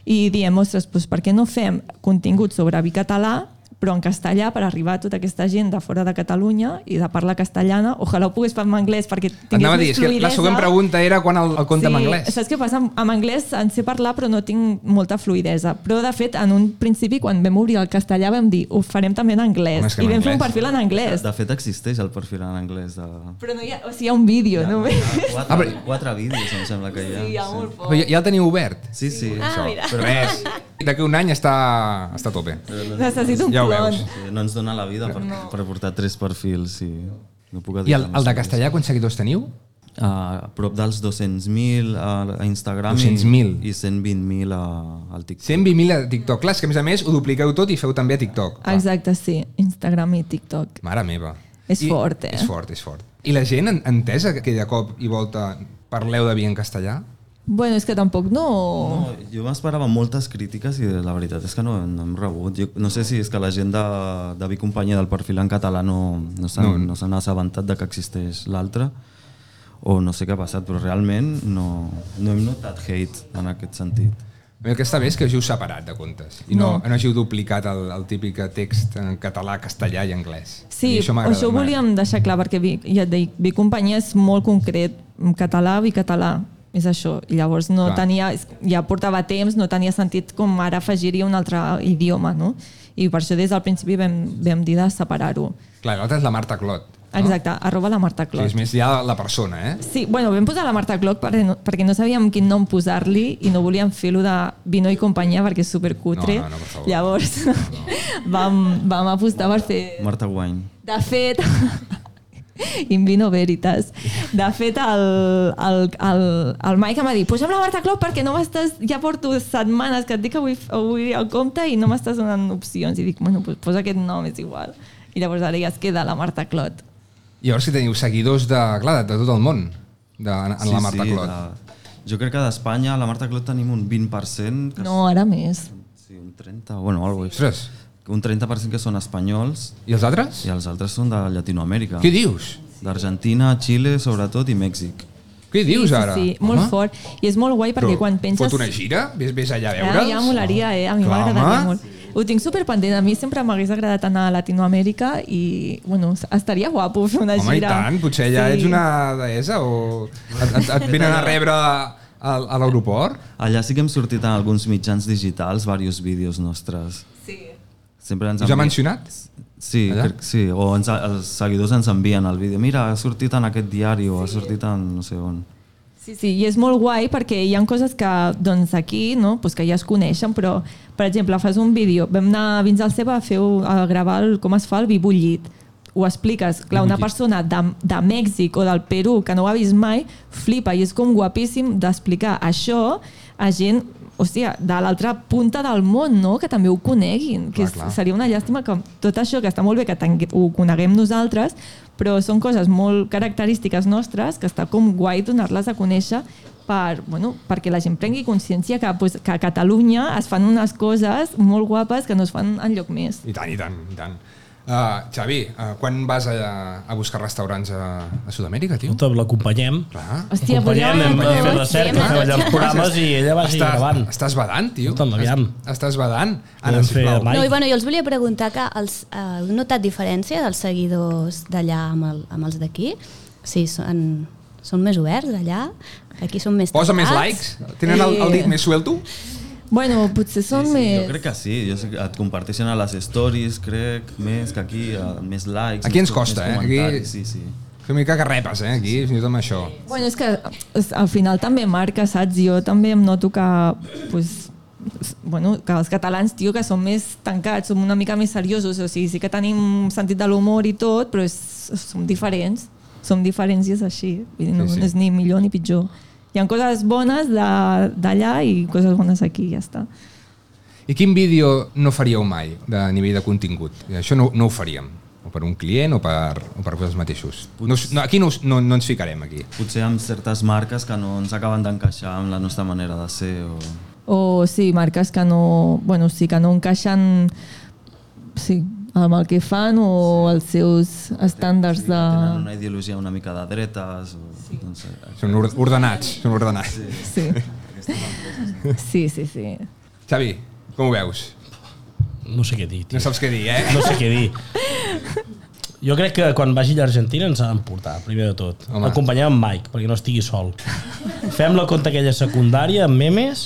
Speaker 4: i diem, ostres, doncs per què no fem contingut sobre vi català però en castellà per arribar a tota aquesta gent de fora de Catalunya i de parla castellana. Ojalà ho pogués parlar en anglès perquè tingués
Speaker 2: Anava a dir,
Speaker 4: més
Speaker 2: és que la
Speaker 4: fluïdesa.
Speaker 2: següent pregunta era quan el, el conte en anglès.
Speaker 4: Saps què passa? En anglès en sé parlar però no tinc molta fluidesa. Però de fet, en un principi quan vam obrir el castellà vam dir ho farem també en
Speaker 2: Home,
Speaker 4: anglès.
Speaker 2: és que
Speaker 4: I
Speaker 2: en
Speaker 4: vam fer un
Speaker 2: anglès.
Speaker 4: perfil en anglès.
Speaker 5: De fet, existeix el perfil en anglès de...
Speaker 4: Però no hi ha, o sigui, hi ha un vídeo ja, només.
Speaker 2: Ah,
Speaker 5: Quatre,
Speaker 2: però-
Speaker 5: quatre vídeos, em sembla que hi ha.
Speaker 4: Sí, hi ha molt poc.
Speaker 2: Però ja, ja el teniu obert.
Speaker 5: Sí, sí.
Speaker 1: Ah, mira.
Speaker 2: Però res, <laughs> d'aquí un any està, està a tope.
Speaker 4: Necessito un
Speaker 2: Ja ho
Speaker 4: clon.
Speaker 2: veus.
Speaker 5: Sí, No ens dona la vida per, no. per portar tres perfils, sí. No puc
Speaker 2: I el,
Speaker 5: editar
Speaker 2: el de
Speaker 5: més.
Speaker 2: castellà, quants seguidors teniu?
Speaker 5: a prop dels 200.000 a a Instagram i-
Speaker 2: 200.000.
Speaker 5: i 120.000 a, ah, al TikTok.
Speaker 2: 120.000 a TikTok. Clar, és que a més a més ho dupliqueu tot i feu també a TikTok.
Speaker 4: Exacte, sí. Instagram i TikTok.
Speaker 2: Mare meva.
Speaker 4: És fort, eh?
Speaker 2: És fort, és fort. I la gent en- entesa que de cop i volta parleu de vi en castellà?
Speaker 4: Bueno, és que tampoc no...
Speaker 5: No, jo m'esperava moltes crítiques i la veritat és que no, no hem rebut. Jo, no sé si és que la gent de, de Vic Companyia del perfil en català no, no s'han
Speaker 2: No.
Speaker 5: no. no s'han assabentat de que existeix l'altre o no sé què ha passat, però realment no, no hem notat hate en aquest sentit.
Speaker 2: El que està bé és que us heu separat de comptes i no, no. no hàgiu duplicat el, el típic text en català, castellà i anglès.
Speaker 4: Sí,
Speaker 2: I
Speaker 4: això,
Speaker 2: m'agrada,
Speaker 4: això ho
Speaker 2: m'agrada.
Speaker 4: volíem deixar clar, perquè Vic, ja et dic, Vic Companyia és molt concret, en català, bicatalà, és això. I llavors no
Speaker 2: Clar.
Speaker 4: clar. tenia, és- ja portava temps, no tenia sentit com ara afegiria un altre idioma, no? I per això des del principi vam, vam dir de separar-ho.
Speaker 2: Clar, l'altra és la Marta Clot.
Speaker 4: Exacte, arroba la Marta
Speaker 2: O sigui,
Speaker 4: Clot.
Speaker 2: Ah. és més ja la persona, eh?
Speaker 4: Sí, bueno, vam posar la Marta Cloc perquè no, perquè no sabíem quin nom posar-li i no volíem fer-lo de Vino i companyia perquè és supercutre.
Speaker 2: No, no, no, per favor.
Speaker 4: Llavors <laughs> vam, vam apostar per fer...
Speaker 5: Marta Wine.
Speaker 4: De fet, <laughs> in vino veritas. De fet, el, el, el, el Mike em va dir posa'm la Marta Clop perquè no m'estàs... Ja porto setmanes que et dic que vull, vull el compte i no m'estàs donant opcions. I dic, bueno, pues, posa aquest nom, és igual. I llavors ara ja es queda la Marta Clot.
Speaker 2: I llavors que teniu seguidors de, clar, de, de tot el món, de, en, en la Marta Clot.
Speaker 5: la- jo crec que d'Espanya a la Marta Clot tenim un 20%, que
Speaker 4: No, ara més.
Speaker 5: sí, un 30, bueno, algo així.
Speaker 2: Ostres,
Speaker 5: un 30% que són espanyols
Speaker 2: i els altres?
Speaker 5: i els altres són de Llatinoamèrica.
Speaker 2: Què dius?
Speaker 5: D'Argentina, Xile, sobretot, i Mèxic.
Speaker 2: Què dius
Speaker 4: sí,
Speaker 2: ara?
Speaker 4: Sí, sí, molt
Speaker 2: Home.
Speaker 4: fort. I és molt guai perquè
Speaker 2: Però
Speaker 4: quan penses...
Speaker 2: Fot una gira? Ves, ves allà a
Speaker 4: Ah,
Speaker 2: veure'ls?
Speaker 4: ja molaria, eh? A mi
Speaker 2: Clar,
Speaker 4: m'agradaria
Speaker 2: home.
Speaker 4: molt. Ho tinc superpendent. A mi sempre m'hagués agradat anar a Latinoamèrica i, bueno, estaria guapo fer una
Speaker 2: Home, i
Speaker 4: gira.
Speaker 2: tant, potser ja ets una deessa o et, et, et venen a rebre a, a l'aeroport?
Speaker 5: Allà sí que hem sortit en alguns mitjans digitals, diversos vídeos nostres.
Speaker 4: Sí.
Speaker 5: Sempre ens
Speaker 2: Us ha
Speaker 5: envien-
Speaker 2: mencionat?
Speaker 5: Sí,
Speaker 2: Allà?
Speaker 5: crec, que sí. O ens, els seguidors ens envien el vídeo. Mira, ha sortit en aquest diari o ha sortit en no sé on.
Speaker 4: Sí, sí, i és molt guai perquè hi ha coses que doncs, aquí, no? pues que ja es coneixen, però, per exemple, fas un vídeo, vam anar fins al Ceba a, fer, a gravar el, com es fa el vi bullit, ho expliques, clar, una persona de, de Mèxic o del Perú que no ho ha vist mai, flipa, i és com guapíssim d'explicar això a gent, hòstia, de l'altra punta del món, no?, que també ho coneguin, que
Speaker 2: Clar,
Speaker 4: és,
Speaker 2: clar.
Speaker 4: seria una llàstima que tot això, que està molt bé que tengui- ho coneguem nosaltres, però són coses molt característiques nostres que està com guai donar-les a conèixer per, bueno, perquè la gent prengui consciència que, pues, que a Catalunya es fan unes coses molt guapes que no es fan enlloc més.
Speaker 2: I tant, i tant, i tant. Uh, Xavi, uh, quan vas a, a buscar restaurants a, a Sud-amèrica, tio? Ah.
Speaker 3: Tot l'acompanyem.
Speaker 2: Clar.
Speaker 4: Hòstia, pues ja
Speaker 3: Acompanyem, hem
Speaker 4: va,
Speaker 3: fet
Speaker 4: tots.
Speaker 3: recerca,
Speaker 1: Sí,
Speaker 3: fem allà els
Speaker 1: tots.
Speaker 3: programes i ella va seguir
Speaker 2: Estàs,
Speaker 3: gravant.
Speaker 2: estàs badant, tio.
Speaker 3: Escolta'm, aviam.
Speaker 2: Est- Estàs badant. Anna,
Speaker 3: Podem fer
Speaker 2: sisplau.
Speaker 3: demà.
Speaker 1: No,
Speaker 3: Mike.
Speaker 1: i bueno, jo els volia preguntar que els, eh, heu notat diferència dels seguidors d'allà amb, el, amb els d'aquí? Sí, són, són més oberts allà, aquí són més
Speaker 2: Posa més likes?
Speaker 1: tancats.
Speaker 2: Tenen el, el dit
Speaker 4: Sí.
Speaker 2: més suelto?
Speaker 4: Bueno, potser són
Speaker 5: sí,
Speaker 4: més...
Speaker 5: Jo crec que sí. Jo sé que et comparteixen a les stories, crec, més que aquí, a, més likes.
Speaker 2: Aquí
Speaker 5: més
Speaker 2: ens
Speaker 5: co-
Speaker 2: costa,
Speaker 5: més
Speaker 2: eh? Aquí-
Speaker 5: comentaris, Sí, sí.
Speaker 2: Una mica que repes, eh, aquí, fins i tot amb això.
Speaker 4: Bueno, és que és- al final també marca, saps? Jo també em noto que, pues, bueno, que els catalans, tio, que som més tancats, som una mica més seriosos, o sigui, sí que tenim sentit de l'humor i tot, però és, som diferents, som diferents i és així, Vull dir, no,
Speaker 2: Sí, sí.
Speaker 4: no és ni millor ni pitjor. Hi ha coses bones de- d'allà i coses bones aquí, ja està.
Speaker 2: I quin vídeo no faríeu mai de nivell de contingut? I Això no, no ho faríem. O per un client o per, o per vosaltres mateixos. No, us- no, aquí no, us- no, no ens ficarem, aquí.
Speaker 5: Potser amb certes marques que no ens acaben d'encaixar amb la nostra manera de ser o...
Speaker 4: O sí, marques que no, bueno, sí, que no encaixen sí, amb el que fan o els seus estàndards
Speaker 5: Sí,
Speaker 4: de...
Speaker 5: Tenen una ideologia una mica de dretes. O, Ah. sí. doncs, eh,
Speaker 4: <laughs>
Speaker 2: Són or- ordenats, són ordenats.
Speaker 4: Sí. Sí, sí, sí.
Speaker 2: Xavi, com ho veus?
Speaker 3: No sé què dir, tio.
Speaker 2: No saps què dir, eh?
Speaker 3: No sé què dir. Jo crec que quan vagi a l'Argentina ens ha d'emportar, primer de tot.
Speaker 2: Home.
Speaker 3: Home. Acompanyar amb Mike, perquè no estigui sol. Fem la conta aquella secundària amb memes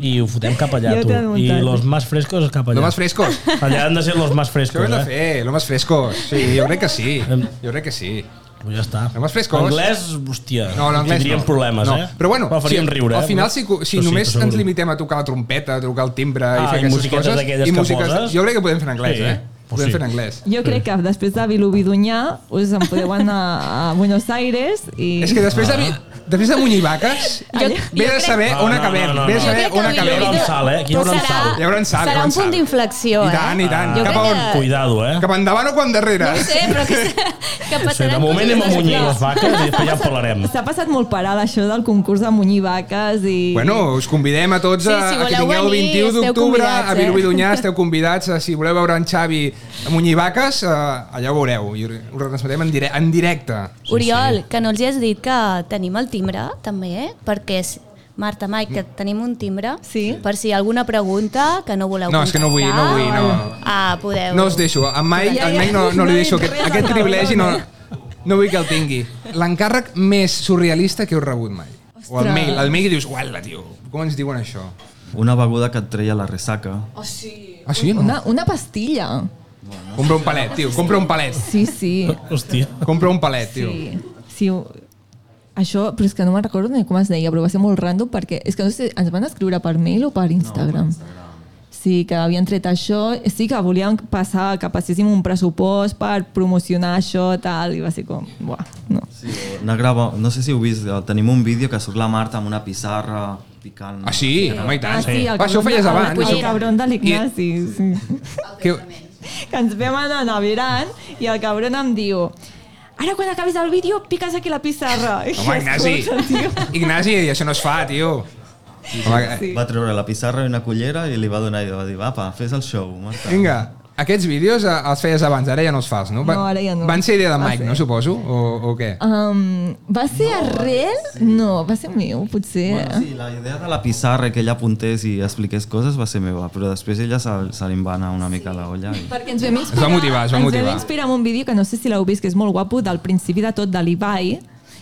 Speaker 3: i ho fotem cap allà,
Speaker 4: Ja ho
Speaker 3: tu.
Speaker 4: t'he
Speaker 3: I
Speaker 4: muntat.
Speaker 3: los más frescos cap
Speaker 2: Lo
Speaker 3: allà.
Speaker 2: más frescos.
Speaker 3: Allà han de ser los más
Speaker 2: Això ho
Speaker 3: frescos,
Speaker 2: hem de
Speaker 3: eh?
Speaker 2: fer, lo más frescos. Sí, jo crec que sí. Jo crec que sí.
Speaker 3: Però ja està.
Speaker 2: Lo más frescos.
Speaker 3: Anglès, hòstia,
Speaker 2: No, l'anglès
Speaker 3: tindríem
Speaker 2: no.
Speaker 3: problemes,
Speaker 2: no.
Speaker 3: eh?
Speaker 2: Però bueno,
Speaker 3: Però faríem
Speaker 2: si,
Speaker 3: riure,
Speaker 2: al
Speaker 3: eh?
Speaker 2: final, si, cu- si
Speaker 3: Però sí,
Speaker 2: només
Speaker 3: però
Speaker 2: ens
Speaker 3: segur.
Speaker 2: limitem a tocar la trompeta, a tocar el timbre i
Speaker 3: Ah,
Speaker 2: fer
Speaker 3: i
Speaker 2: aquestes
Speaker 3: musiquetes
Speaker 2: coses...
Speaker 3: d'aquelles que poses.
Speaker 2: Jo crec que podem fer en anglès,
Speaker 3: Sí,
Speaker 2: eh?
Speaker 3: pues
Speaker 2: Podem
Speaker 3: sí.
Speaker 2: fer en anglès.
Speaker 4: Jo crec que després de Vilubidunyà us en podeu anar a Buenos Aires i...
Speaker 2: És que després de, vi- després de munyir vaques,
Speaker 1: Jo- jo
Speaker 2: ve de
Speaker 1: crec-
Speaker 2: saber
Speaker 3: No,
Speaker 2: on
Speaker 3: no,
Speaker 2: acabem.
Speaker 3: no, no,
Speaker 2: Ve de
Speaker 3: no.
Speaker 1: Jo
Speaker 2: saber
Speaker 1: crec que
Speaker 2: on
Speaker 1: el
Speaker 3: Aquí hi haurà
Speaker 2: acabem.
Speaker 3: un salt, eh? Aquí hi haurà un
Speaker 1: Serà-
Speaker 3: salt.
Speaker 2: Hi haurà un salt, hi
Speaker 1: Serà
Speaker 2: haurà
Speaker 1: un
Speaker 2: un
Speaker 1: punt
Speaker 2: salt.
Speaker 1: d'inflexió, eh?
Speaker 2: I tant, i tant.
Speaker 1: Jo
Speaker 2: Cap
Speaker 1: crec
Speaker 2: a on?
Speaker 1: que-
Speaker 3: Cuidado, eh?
Speaker 2: Cap endavant o quan darrere?
Speaker 1: No ho sé, però que, que
Speaker 3: Sí,
Speaker 1: passaran
Speaker 3: de moment
Speaker 1: coses
Speaker 3: hem amunyit
Speaker 1: després.
Speaker 3: les vaques i després ja en parlarem.
Speaker 4: S'ha passat molt parada això del concurs de munyir vaques i...
Speaker 2: Bueno, us convidem a tots
Speaker 1: Sí,
Speaker 2: a,
Speaker 1: si
Speaker 2: a que
Speaker 1: voleu
Speaker 2: vingueu el
Speaker 1: venir,
Speaker 2: 21
Speaker 1: esteu
Speaker 2: d'octubre
Speaker 1: convidats,
Speaker 2: a
Speaker 1: eh?
Speaker 2: Vilobidonyà, esteu convidats, eh, si voleu veure en Xavi a Munyivaques, eh, allà ho veureu, i ho retransmetem en, dire en directe.
Speaker 1: Oriol, que no els hi has dit que tenim el timbre, també, eh? perquè és Marta, Mike,
Speaker 2: Mm.
Speaker 1: que tenim un timbre
Speaker 4: Sí.
Speaker 1: per si hi ha alguna pregunta que no voleu
Speaker 2: No, és que no vull, no
Speaker 1: contestar.
Speaker 2: vull, no.
Speaker 1: Ah, podeu.
Speaker 2: No us deixo, a Mike,
Speaker 4: Ja,
Speaker 2: a
Speaker 4: ja,
Speaker 2: Mike no, no
Speaker 4: no
Speaker 2: li
Speaker 4: he
Speaker 2: deixo
Speaker 4: dit
Speaker 2: aquest,
Speaker 4: res,
Speaker 2: aquest
Speaker 4: no,
Speaker 2: privilegi, no,
Speaker 4: no,
Speaker 2: no vull que el tingui. L'encàrrec més surrealista que heu rebut mai. O el
Speaker 4: Ostres.
Speaker 2: mail, el mail que dius, uala, tio, com ens diuen això?
Speaker 5: Una beguda que et treia la ressaca.
Speaker 2: Ah, sí? No?
Speaker 4: Una, una pastilla.
Speaker 2: Compra un palet, tio, compra un palet.
Speaker 4: Sí, sí.
Speaker 3: Hòstia.
Speaker 2: Compra un palet, tio.
Speaker 4: Sí, sí. ho- Això, però és que no me'n recordo ni com es deia, però va ser molt random perquè és que no sé, ens van escriure per mail o per Instagram. No, Sí, que havien tret això, sí que volien passar, que passéssim un pressupost per promocionar això, tal, i va ser com, buah, no.
Speaker 5: Sí, una grava, no sé si heu vist, eh, tenim un vídeo que surt la Marta amb una pissarra picant...
Speaker 2: Ah, sí? Home, i tant.
Speaker 4: el
Speaker 2: Va, això ho
Speaker 4: cabron
Speaker 2: feies
Speaker 4: de-
Speaker 2: abans.
Speaker 4: El, el cabron de l'Ignasi, sí. <laughs>
Speaker 2: Que,
Speaker 4: Que ens vam anar navegant i el cabron em diu ara quan acabis el vídeo piques aquí la pissarra. <laughs> I
Speaker 2: Home, Ignasi,
Speaker 4: escolta, tio.
Speaker 2: Ignasi, això no es fa, tio. Home, eh,
Speaker 4: Sí.
Speaker 5: Va treure la pissarra i una cullera i li va donar i va dir, apa, fes el show, Marta.
Speaker 2: Vinga, aquests vídeos eh, els feies abans, ara ja no els fas, no?
Speaker 4: No, ara ja no. Ah,
Speaker 2: Van ser idea de
Speaker 4: Va
Speaker 2: Mike,
Speaker 4: ser.
Speaker 2: no, suposo? O, o què?
Speaker 4: Um, va ser no, arrel? Sí. No, va ser meu, potser.
Speaker 5: Bueno, sí, la idea de la pissarra que ella apuntés i expliqués coses va ser meva, però després ella se, se li va anar una mica a la olla. I...
Speaker 4: Perquè ens vam inspirar,
Speaker 2: motivar, es va
Speaker 4: Ens
Speaker 2: motivar.
Speaker 4: vam inspirar amb un vídeo que no sé si l'heu vist, que és molt guapo, del principi de tot, de l'Ibai,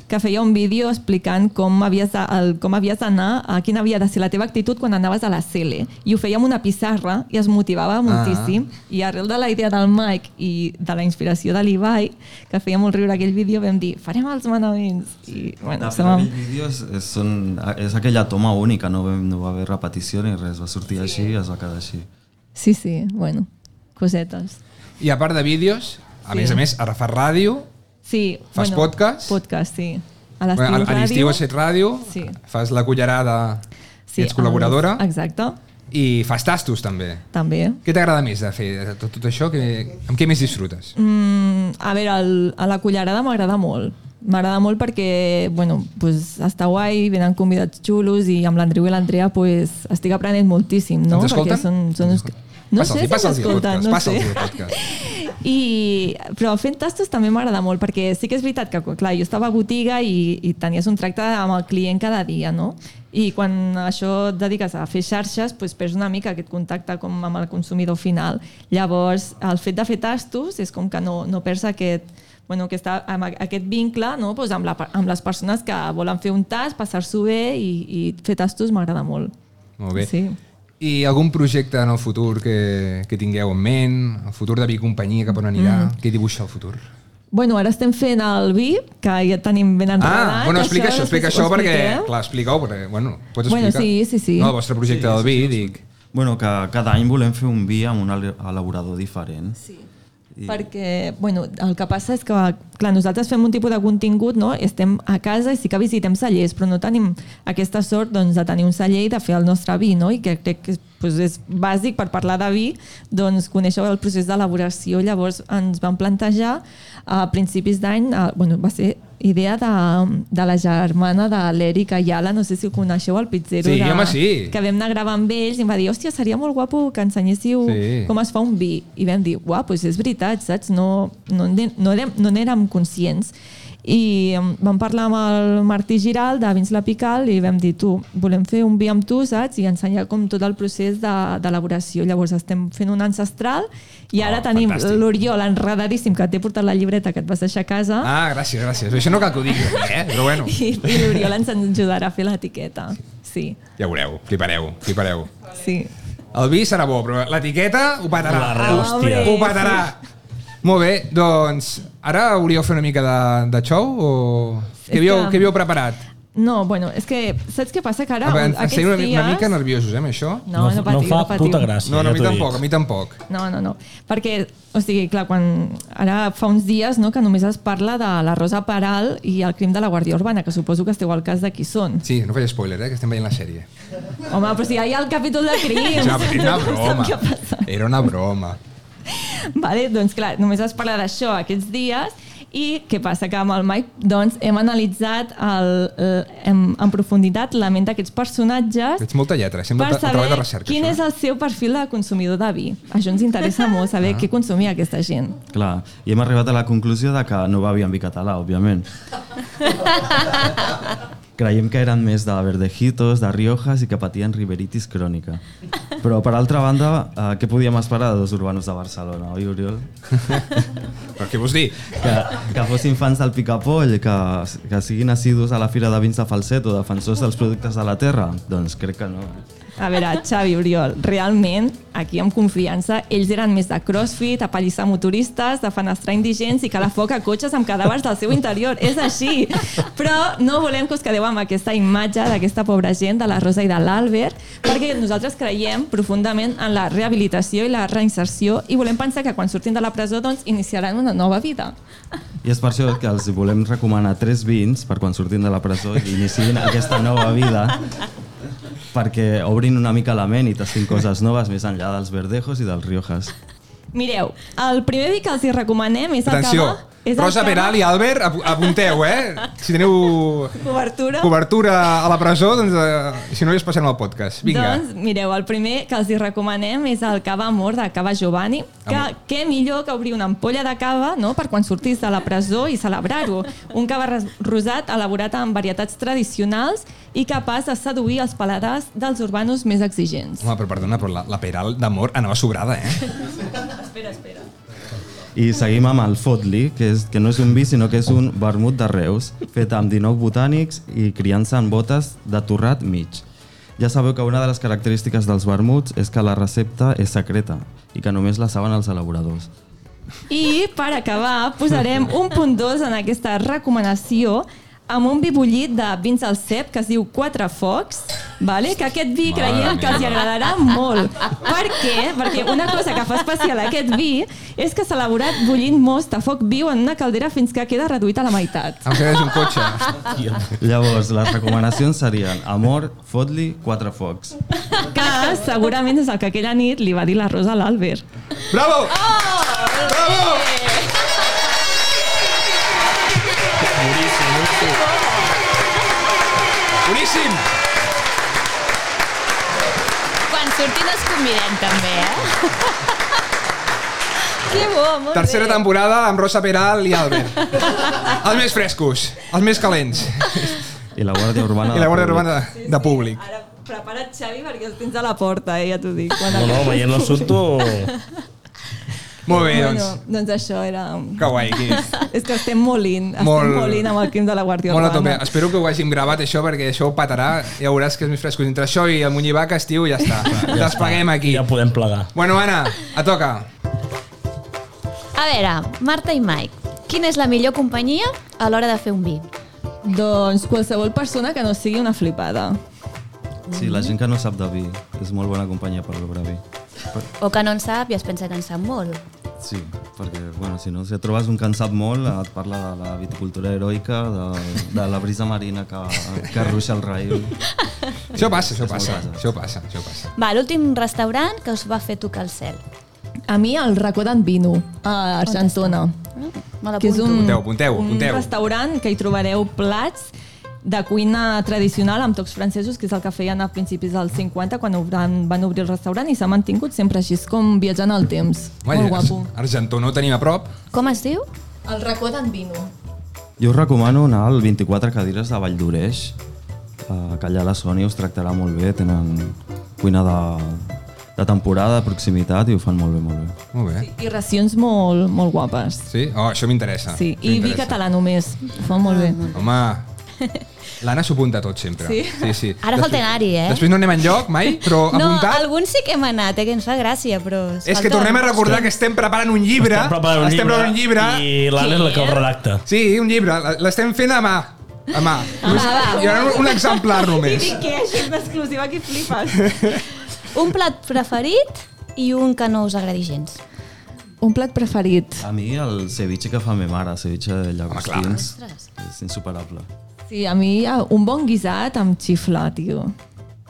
Speaker 4: que feia un vídeo explicant com havies, de, el, com havies d'anar, a quina havia de ser la teva actitud quan anaves a la cele. I ho feia amb una pissarra i es motivava moltíssim. Ah. I arrel de la idea del Mike i de la inspiració de l'Ibai, que feia molt riure aquell vídeo, vam dir, farem els manaments. I, bueno, se va...
Speaker 5: Bueno, vídeos és, són, és aquella toma única, no, vam, no va haver repetició ni res, va sortir sí. així i es va quedar així.
Speaker 4: Sí, sí, bueno, cosetes.
Speaker 2: I a part de vídeos, a més a més, ara fas ràdio,
Speaker 4: Sí.
Speaker 2: Fas podcast?
Speaker 4: Podcast, sí. A
Speaker 2: bueno,
Speaker 4: l'estiu
Speaker 2: a- a l'estiu
Speaker 4: ràdio.
Speaker 2: has fet ràdio,
Speaker 4: Sí.
Speaker 2: fas la cullerada,
Speaker 4: Sí,
Speaker 2: ets col·laboradora,
Speaker 4: amb- Exacte,
Speaker 2: i fas tastos, també.
Speaker 4: també.
Speaker 2: Què t'agrada més de fer de tot, tot això? Que, amb què més disfrutes?
Speaker 4: Mm, a veure, el, a la cullerada m'agrada molt. M'agrada molt perquè, bueno, pues, està guai, venen convidats xulos i amb l'Andreu i l'Andrea pues, estic aprenent moltíssim, no?
Speaker 2: Ens escolten?
Speaker 4: Perquè són, són uns... que- No
Speaker 2: Passa'ls-hi,
Speaker 4: sé si
Speaker 2: passa'ls-hi el
Speaker 4: escolten,
Speaker 2: podcast,
Speaker 4: no sé.
Speaker 2: passa'ls-hi el podcast.
Speaker 4: I, però fent tastos també m'agrada molt, perquè sí que és veritat que, clar, jo estava a botiga i, i tenies un tracte amb el client cada dia, no? I quan això et dediques a fer xarxes, doncs perds una mica aquest contacte com amb el consumidor final. Llavors, el fet de fer tastos és com que no, no perds aquest, bueno, que està amb a- aquest vincle no? doncs amb, la, per- amb les persones que volen fer un tast, passar-s'ho bé i, i fer tastos m'agrada molt.
Speaker 2: Molt bé.
Speaker 4: Sí.
Speaker 2: I algun projecte en el futur que, que tingueu en ment? El futur de Vic Companyia, cap on anirà? Mm. Què dibuixa el futur?
Speaker 4: Bueno, ara estem fent el VIP, que ja tenim ben enredat.
Speaker 2: Ah, bueno, explica això,
Speaker 4: després
Speaker 2: explica
Speaker 4: ho
Speaker 2: això perquè...
Speaker 4: expliquem.
Speaker 2: Clar, explica-ho, perquè, bueno, pots
Speaker 4: Bueno,
Speaker 2: explicar...
Speaker 4: sí, sí, sí.
Speaker 2: No, el vostre projecte del vi, dic.
Speaker 5: Bueno, que cada any volem fer un vi amb un ele- elaborador diferent. Sí.
Speaker 4: I... Perquè, bueno, el que passa és que, clar, nosaltres fem un tipus de contingut, no? Estem a casa i sí que visitem cellers, però no tenim aquesta sort doncs, de tenir un celler i de fer el nostre vi, no? I que crec que doncs, és bàsic per parlar de vi, doncs conèixer el procés d'elaboració. Llavors ens vam plantejar a principis d'any, eh, bueno, va ser idea de, de la germana de l'Eric Ayala, no sé si ho coneixeu, el pizzero
Speaker 2: Sí,
Speaker 4: de,
Speaker 2: home, sí.
Speaker 4: que vam anar a gravar amb ells i em va dir, hòstia, seria molt guapo que ensenyéssiu
Speaker 2: Sí.
Speaker 4: sí. com es fa un vi i vam dir, uau, doncs és veritat, saps? No, no, n'he- no, érem, no n'érem conscients i em, vam parlar amb el Martí Giral de Vins La Pical i vam dir, tu, volem fer un vi amb tu, saps? I ensenyar com tot el procés de- d'elaboració. De, Llavors estem fent un ancestral i ara
Speaker 2: Oh,
Speaker 4: tenim
Speaker 2: fantàstic.
Speaker 4: l'Oriol enredadíssim que t'he portat la llibreta que et vas deixar a casa
Speaker 2: Ah, gràcies, gràcies. Això no cal que ho digui,
Speaker 4: <laughs>
Speaker 2: eh? Però bueno,
Speaker 4: i, i l'Oriol ens ajudarà a fer l'etiqueta. Sí,
Speaker 2: ja veureu, flipareu, flipareu.
Speaker 4: sí.
Speaker 2: El vi serà bo, però l'etiqueta ho petarà.
Speaker 3: La re- hòstia.
Speaker 2: Ho petarà. Molt bé, doncs ara volíeu fer una mica de, de xou o... Què
Speaker 4: És
Speaker 2: havíeu,
Speaker 4: que-
Speaker 2: què havíeu preparat?
Speaker 4: No, bueno, és que saps què passa? Que ara,
Speaker 2: A veure, ens- ens
Speaker 4: aquests
Speaker 2: tenim una, mi-
Speaker 4: dies...
Speaker 2: una mica nerviosos, eh, amb això?
Speaker 4: No, no,
Speaker 3: fa-
Speaker 4: patiu,
Speaker 3: no fa
Speaker 4: patiu.
Speaker 3: puta gràcia.
Speaker 2: no, no, a mi
Speaker 3: t'ho dic.
Speaker 2: tampoc, a mi tampoc.
Speaker 4: No, no, no. Perquè, o sigui, clar, quan ara fa uns dies no, que només es parla de la Rosa Peral i el crim de la Guàrdia Urbana, que suposo que esteu al cas de qui són.
Speaker 2: Sí, no faig spoiler, eh, que estem veient la sèrie.
Speaker 4: Home, però si ja hi ha el capítol de crims.
Speaker 2: Ja, però era una
Speaker 4: no sap què
Speaker 2: broma.
Speaker 4: passa.
Speaker 2: Era una broma.
Speaker 4: Vale, doncs clar, només es parla d'això aquests dies i què passa? Que amb el Mike doncs, hem analitzat el, el, en, en profunditat la ment d'aquests personatges
Speaker 2: Ets molta lletra, sembla
Speaker 4: per
Speaker 2: un treball de
Speaker 4: saber
Speaker 2: recerca.
Speaker 4: quin
Speaker 2: això. eh?
Speaker 4: és el seu perfil de consumidor de vi. Això ens interessa molt,
Speaker 2: Ah.
Speaker 4: saber què consumia aquesta gent.
Speaker 5: Clar, i hem arribat a la conclusió de que no va en vi català, òbviament. Creiem que eren més de verdejitos, de riojas i que patien riberitis crònica. Però, per altra banda, eh, què podíem esperar de dos urbanos de Barcelona, oi, Oriol?
Speaker 2: eh. Però què vols dir?
Speaker 5: Que, que fossin fans del picapoll, que, que siguin assidus a la fira de vins de falset o defensors dels productes de la terra? Doncs crec que no.
Speaker 4: A veure, Xavi, Oriol, realment, aquí amb confiança, ells eren més de crossfit, a pallissar motoristes, de fenestrar indigents i que la foca cotxes amb cadàvers del seu interior. És així. Però no volem que us quedeu amb aquesta imatge d'aquesta pobra gent, de la Rosa i de l'Àlbert, perquè nosaltres creiem profundament en la rehabilitació i la reinserció i volem pensar que quan surtin de la presó doncs, iniciaran una nova vida.
Speaker 5: I és per això que els volem recomanar tres vins per quan sortim de la presó i iniciïn aquesta nova vida perquè obrin una mica la ment i tastin coses noves més enllà dels verdejos i dels riojas.
Speaker 4: Mireu, el primer vi que els hi recomanem és
Speaker 2: Atenció,
Speaker 4: el que va... és el
Speaker 2: Rosa
Speaker 4: que va-
Speaker 2: Peral i Albert, ap- apunteu, eh? Si teniu
Speaker 4: Cobertura.
Speaker 2: cobertura a la presó, doncs, eh, si no, ja es passarem al podcast. Vinga.
Speaker 4: Doncs mireu, el primer que els hi recomanem és el cava amor de Cava Giovanni, que
Speaker 2: Amor.
Speaker 4: què millor que obrir una ampolla de cava no?, per quan sortís de la presó i celebrar-ho. Un cava res- rosat elaborat amb varietats tradicionals i capaç de seduir els paladars dels urbanos més exigents.
Speaker 2: Home, però perdona, però la, la Peral d'amor anava sobrada, eh?
Speaker 5: I seguim amb el Fotli, que, és, que no és un vi, sinó que és un vermut de Reus, fet amb 19 botànics i criança en botes de torrat mig. Ja sabeu que una de les característiques dels vermuts és que la recepta és secreta i que només la saben els elaboradors.
Speaker 4: I per acabar posarem un punt dos en aquesta recomanació amb un vi bullit de vins al cep que es diu Quatre Focs, vale? que aquest vi
Speaker 2: Mare
Speaker 4: creiem que els hi
Speaker 2: meva.
Speaker 4: agradarà molt. Per què? Perquè una cosa que fa especial aquest vi és que s'ha elaborat bullint most a foc viu en una caldera fins que queda reduït a la meitat.
Speaker 2: Em quedes un cotxe.
Speaker 3: eh?
Speaker 5: Llavors, les recomanacions serien Amor, Fotli, Quatre Focs.
Speaker 4: Que segurament és el que aquella nit li va dir la Rosa a l'Àlbert.
Speaker 2: Bravo! Oh, Bravo! Boníssim!
Speaker 6: Quan surtin els convidem també, eh?
Speaker 4: Que bo, molt
Speaker 2: Tercera
Speaker 4: bé.
Speaker 2: temporada amb Rosa Peral i Albert. Els més frescos, els més calents.
Speaker 5: <laughs> I la Guàrdia Urbana.
Speaker 2: I la Guàrdia
Speaker 5: de Públic.
Speaker 2: Urbana de públic.
Speaker 4: Ara prepara't, Xavi, perquè els tens a la porta, eh? ja t'ho dic. Quan
Speaker 3: No, no,
Speaker 4: acabis.
Speaker 3: veient l'assumpto...
Speaker 2: Molt bé,
Speaker 4: Bueno,
Speaker 2: doncs.
Speaker 4: doncs això era...
Speaker 2: Que guai, Quim.
Speaker 4: És que estem molint, estem
Speaker 2: Molt-
Speaker 4: molt... molint amb el crim de la Guàrdia
Speaker 2: Molt a tope.
Speaker 4: Urbana.
Speaker 2: Espero que ho hàgim gravat, això, perquè això ho petarà. Ja veuràs que és més fresco. Entre això i el Munyibac, estiu, ja està. Despleguem aquí.
Speaker 3: Ja podem plegar.
Speaker 2: Bueno, Anna, a toca.
Speaker 1: A veure, Marta i Mike, quina és la millor companyia a l'hora de fer un vi?
Speaker 4: Doncs qualsevol persona que no sigui una flipada.
Speaker 5: Sí, la gent que no sap de vi és molt bona companyia per beure vi. Per-
Speaker 1: O que no en sap i es pensa que en sap molt.
Speaker 5: Sí, perquè, bueno, si no, si et trobes un cansat molt, et parla de la viticultura heroica, de, de la brisa marina que, que ruixa el raïl.
Speaker 2: Això passa, això
Speaker 5: És molt
Speaker 2: passa.
Speaker 5: basa.
Speaker 2: Això passa, això passa.
Speaker 1: Va, l'últim restaurant que us va fer tocar el cel.
Speaker 4: A mi el racó d'en Vino, a Argentona.
Speaker 1: Me
Speaker 4: Que és
Speaker 1: l'apunto.
Speaker 4: un,
Speaker 2: Apunteu, apunteu,
Speaker 4: un
Speaker 2: apunteu.
Speaker 4: restaurant que hi trobareu plats de cuina tradicional amb tocs francesos, que és el que feien a principis dels 50 quan obran, van obrir el restaurant i s'ha mantingut sempre així, és com viatjant al temps.
Speaker 2: Home,
Speaker 4: molt guapo.
Speaker 2: Argentó no ho tenim a prop.
Speaker 1: Com es diu?
Speaker 4: El racó d'en Vino.
Speaker 5: Jo us recomano anar al 24 cadires de Vall d'Oreix, eh, que allà la Sònia us tractarà molt bé, tenen cuina de, de temporada, de proximitat, i ho fan molt bé, molt bé.
Speaker 2: Molt bé.
Speaker 4: I racions molt, molt guapes.
Speaker 2: Sí? Oh, això m'interessa.
Speaker 4: Sí, i vi
Speaker 2: M'interessa.
Speaker 4: català només. Ho fa molt bé.
Speaker 2: Home, l'Anna s'ho apunta tot sempre.
Speaker 4: Sí?
Speaker 2: sí, sí.
Speaker 1: Ara falta anar-hi, eh?
Speaker 2: Després no anem enlloc mai, però
Speaker 1: No,
Speaker 2: apuntat...
Speaker 1: alguns sí que hem anat, eh, que ens fa gràcia, però... es
Speaker 2: Oh, És que
Speaker 1: falten.
Speaker 2: tornem a recordar que estem preparant un llibre.
Speaker 3: Estem preparant un
Speaker 2: Estem
Speaker 3: llibre,
Speaker 2: preparant un llibre.
Speaker 3: i l'Anna és la que el redacta.
Speaker 2: Sí, un llibre. L'estem fent a mà. A mà. Només-
Speaker 1: va.
Speaker 2: Hi haurà un exemplar només.
Speaker 4: que això <laughs> és exclusiva que flipes.
Speaker 1: Un plat preferit i un que no us agradi gens.
Speaker 4: Un plat preferit.
Speaker 5: A mi el ceviche que fa me mare, ceviche de llagostins,
Speaker 1: Ostres.
Speaker 5: és insuperable.
Speaker 4: Sí, a mi ah, un bon guisat em xifla, tio.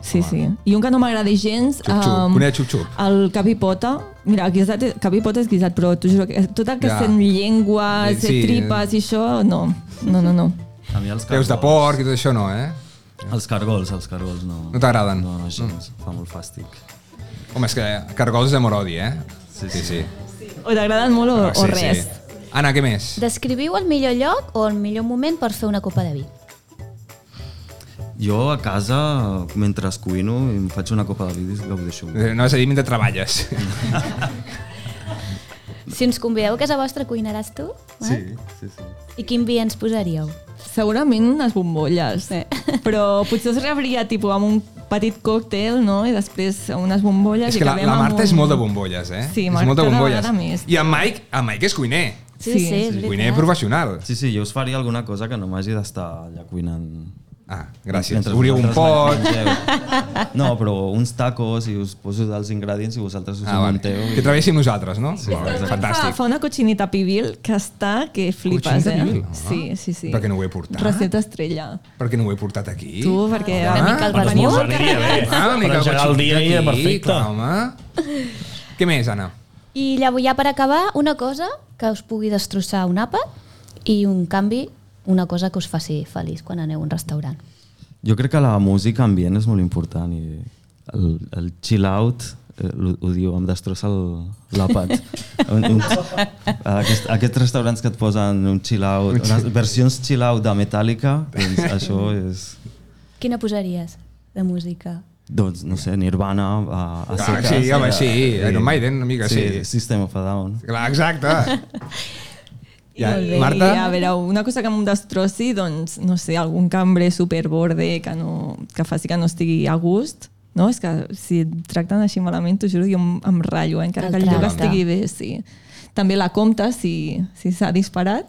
Speaker 4: Sí, sí. I un que no m'agradi gens...
Speaker 2: Xup-xup, Ah. coneix xup-xup.
Speaker 4: El cap i pota. Mira, el guisat, és- cap i pota és guisat, però t'ho juro que tot el que
Speaker 2: Ja. Eh,
Speaker 4: ja. sent llengües,
Speaker 2: Sí,
Speaker 4: sí,
Speaker 2: sí.
Speaker 4: tripes i això, no. No, no, no.
Speaker 5: A mi els
Speaker 2: Peus de porc i tot això no, eh?
Speaker 5: Els cargols, els cargols no...
Speaker 2: No t'agraden? Mm.
Speaker 5: No, no, gens, fa molt fàstic.
Speaker 2: Home, és que cargols de morodi, eh?
Speaker 5: Sí,
Speaker 2: sí. sí.
Speaker 4: O t'agraden molt o,
Speaker 2: Ah,
Speaker 4: o res.
Speaker 2: Sí. Anna, què més?
Speaker 1: Descriviu el millor lloc o el millor moment per fer una copa de vi.
Speaker 5: Jo a casa, mentre cuino, em faig una copa de vidis i gaudeixo.
Speaker 2: Eh, No vas a dir mentre treballes.
Speaker 1: Si ens convideu a casa vostra, cuinaràs tu? Eh?
Speaker 5: Sí, sí, sí.
Speaker 1: I quin vi ens posaríeu?
Speaker 4: Segurament unes bombolles.
Speaker 1: Sí.
Speaker 4: Però potser es rebria tipus amb un petit còctel, no? I després unes
Speaker 2: <laughs>
Speaker 4: bombolles...
Speaker 2: és
Speaker 4: i
Speaker 2: que la,
Speaker 4: acabem
Speaker 2: la
Speaker 4: amb
Speaker 2: Marta
Speaker 4: un...
Speaker 2: és molt de bombolles, eh?
Speaker 4: Sí,
Speaker 2: és
Speaker 4: Marta
Speaker 2: molt de
Speaker 4: cada
Speaker 2: bombolles.
Speaker 4: vegada més.
Speaker 2: I en Mike, en Mike és cuiner.
Speaker 4: Sí,
Speaker 1: és veritat.
Speaker 2: Cuiner professional.
Speaker 5: Sí, sí, jo us faria alguna cosa que no m'hagi d'estar allà cuinant.
Speaker 2: Ah, gràcies.
Speaker 5: Mentre
Speaker 2: Obríeu un pot...
Speaker 5: vosaltres mengeu. No, però uns tacos i us poso els ingredients i vosaltres us
Speaker 2: Ah,
Speaker 5: ah, ho
Speaker 2: vale.
Speaker 5: munteu.
Speaker 2: Que
Speaker 5: I...
Speaker 2: treballéssim nosaltres, no? Sí,
Speaker 4: Fa,
Speaker 2: Fantàstic.
Speaker 4: fa una cochinita pibil que està que flipes,
Speaker 2: Cochinita
Speaker 4: eh?
Speaker 2: pibil, ah.
Speaker 4: Sí, sí, sí.
Speaker 2: Per què no ho he portat?
Speaker 4: Recepta estrella.
Speaker 2: Per què no ho he portat aquí?
Speaker 4: Tu, perquè...
Speaker 1: Una mica el
Speaker 3: Per
Speaker 1: vermut.
Speaker 3: esmorzar aniria bé.
Speaker 2: Ah,
Speaker 3: per engegar el dia aniria perfecte.
Speaker 2: Clar, home. Què més, Anna?
Speaker 1: I llavors ja per acabar, una cosa que us pugui destrossar un àpat i un canvi, una cosa que us faci feliç quan aneu a un restaurant.
Speaker 5: Jo crec que la música ambient és molt important i el, el chill out eh, ho, ho diu, em destrossa el-
Speaker 2: <laughs>
Speaker 5: l'àpat. Un- un- Aquest, aquests restaurants que et posen un chill out, unes versions chill out de Metallica, doncs això és...
Speaker 1: Quina posaries de música?
Speaker 5: Doncs, no sé, Nirvana, a, a
Speaker 2: Ah, sí, home, sí, Iron Maiden, una mica, sí.
Speaker 5: System of a Down.
Speaker 2: Clar, exacte. Ja,
Speaker 4: Molt bé.
Speaker 2: Marta?
Speaker 4: I, a veure, una cosa que em destrossi, doncs, no sé, algun cambrer superborde que, no, que faci que no estigui a gust. No? És que si et tracten així malament, t'ho juro, jo em, em ratllo, eh? encara
Speaker 1: El
Speaker 4: que el lloc
Speaker 1: tracte.
Speaker 4: estigui bé, sí. També la compta, si si s'ha disparat.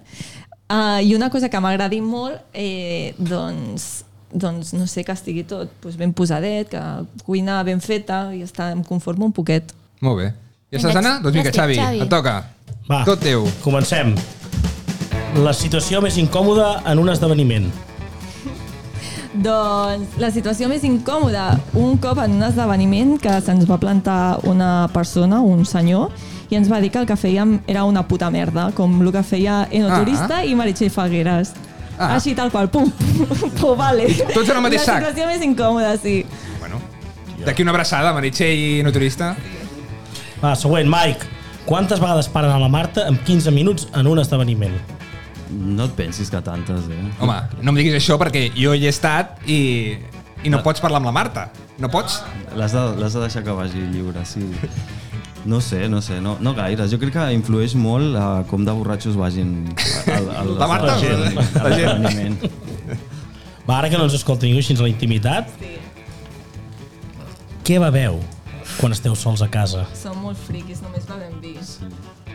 Speaker 4: Uh, I una cosa que m'agradi molt, eh, doncs, doncs, no sé, que estigui tot doncs ben posadet, que cuina ben feta, i està, em conformo un poquet.
Speaker 2: Molt bé. Ja estàs,
Speaker 1: Vinga,
Speaker 2: Anna? Doncs vinga,
Speaker 1: gràcies,
Speaker 2: Xavi,
Speaker 1: Xavi.
Speaker 2: et toca.
Speaker 3: Va.
Speaker 2: Tot teu.
Speaker 3: Comencem. La situació més incòmoda en un esdeveniment.
Speaker 4: Doncs la situació més incòmoda, un cop en un esdeveniment que se'ns va plantar una persona, un senyor, i ens va dir que el que fèiem era una puta merda, com el que feia Enoturista ah. i Meritxell Fagueres.
Speaker 2: Ah.
Speaker 4: Ah. Així tal qual, pum, pum, vale.
Speaker 2: Tots en el mateix
Speaker 4: La
Speaker 2: sac.
Speaker 4: situació més incòmoda, sí.
Speaker 2: Bueno, d'aquí una abraçada, Meritxell i Naturista.
Speaker 3: Va, següent, Mike. Quantes vegades paren a la Marta en 15 minuts en un esdeveniment?
Speaker 5: No et pensis que tantes, eh?
Speaker 2: Home, no em diguis això perquè jo hi he estat i, i no pots parlar amb la Marta. No pots?
Speaker 5: L'has de, l'has de deixar que vagi lliure, sí. No sé, no sé, no, no gaires. Jo crec que influeix molt a com de borratxos vagin al, al,
Speaker 2: La Marta, la
Speaker 5: al-
Speaker 2: gent,
Speaker 5: al-
Speaker 2: la gent.
Speaker 5: esdeveniment.
Speaker 3: Va, ara que no ens escolta ningú així a la intimitat. Sí. Què beveu quan esteu sols a casa?
Speaker 4: Som molt friquis, només bevem vi.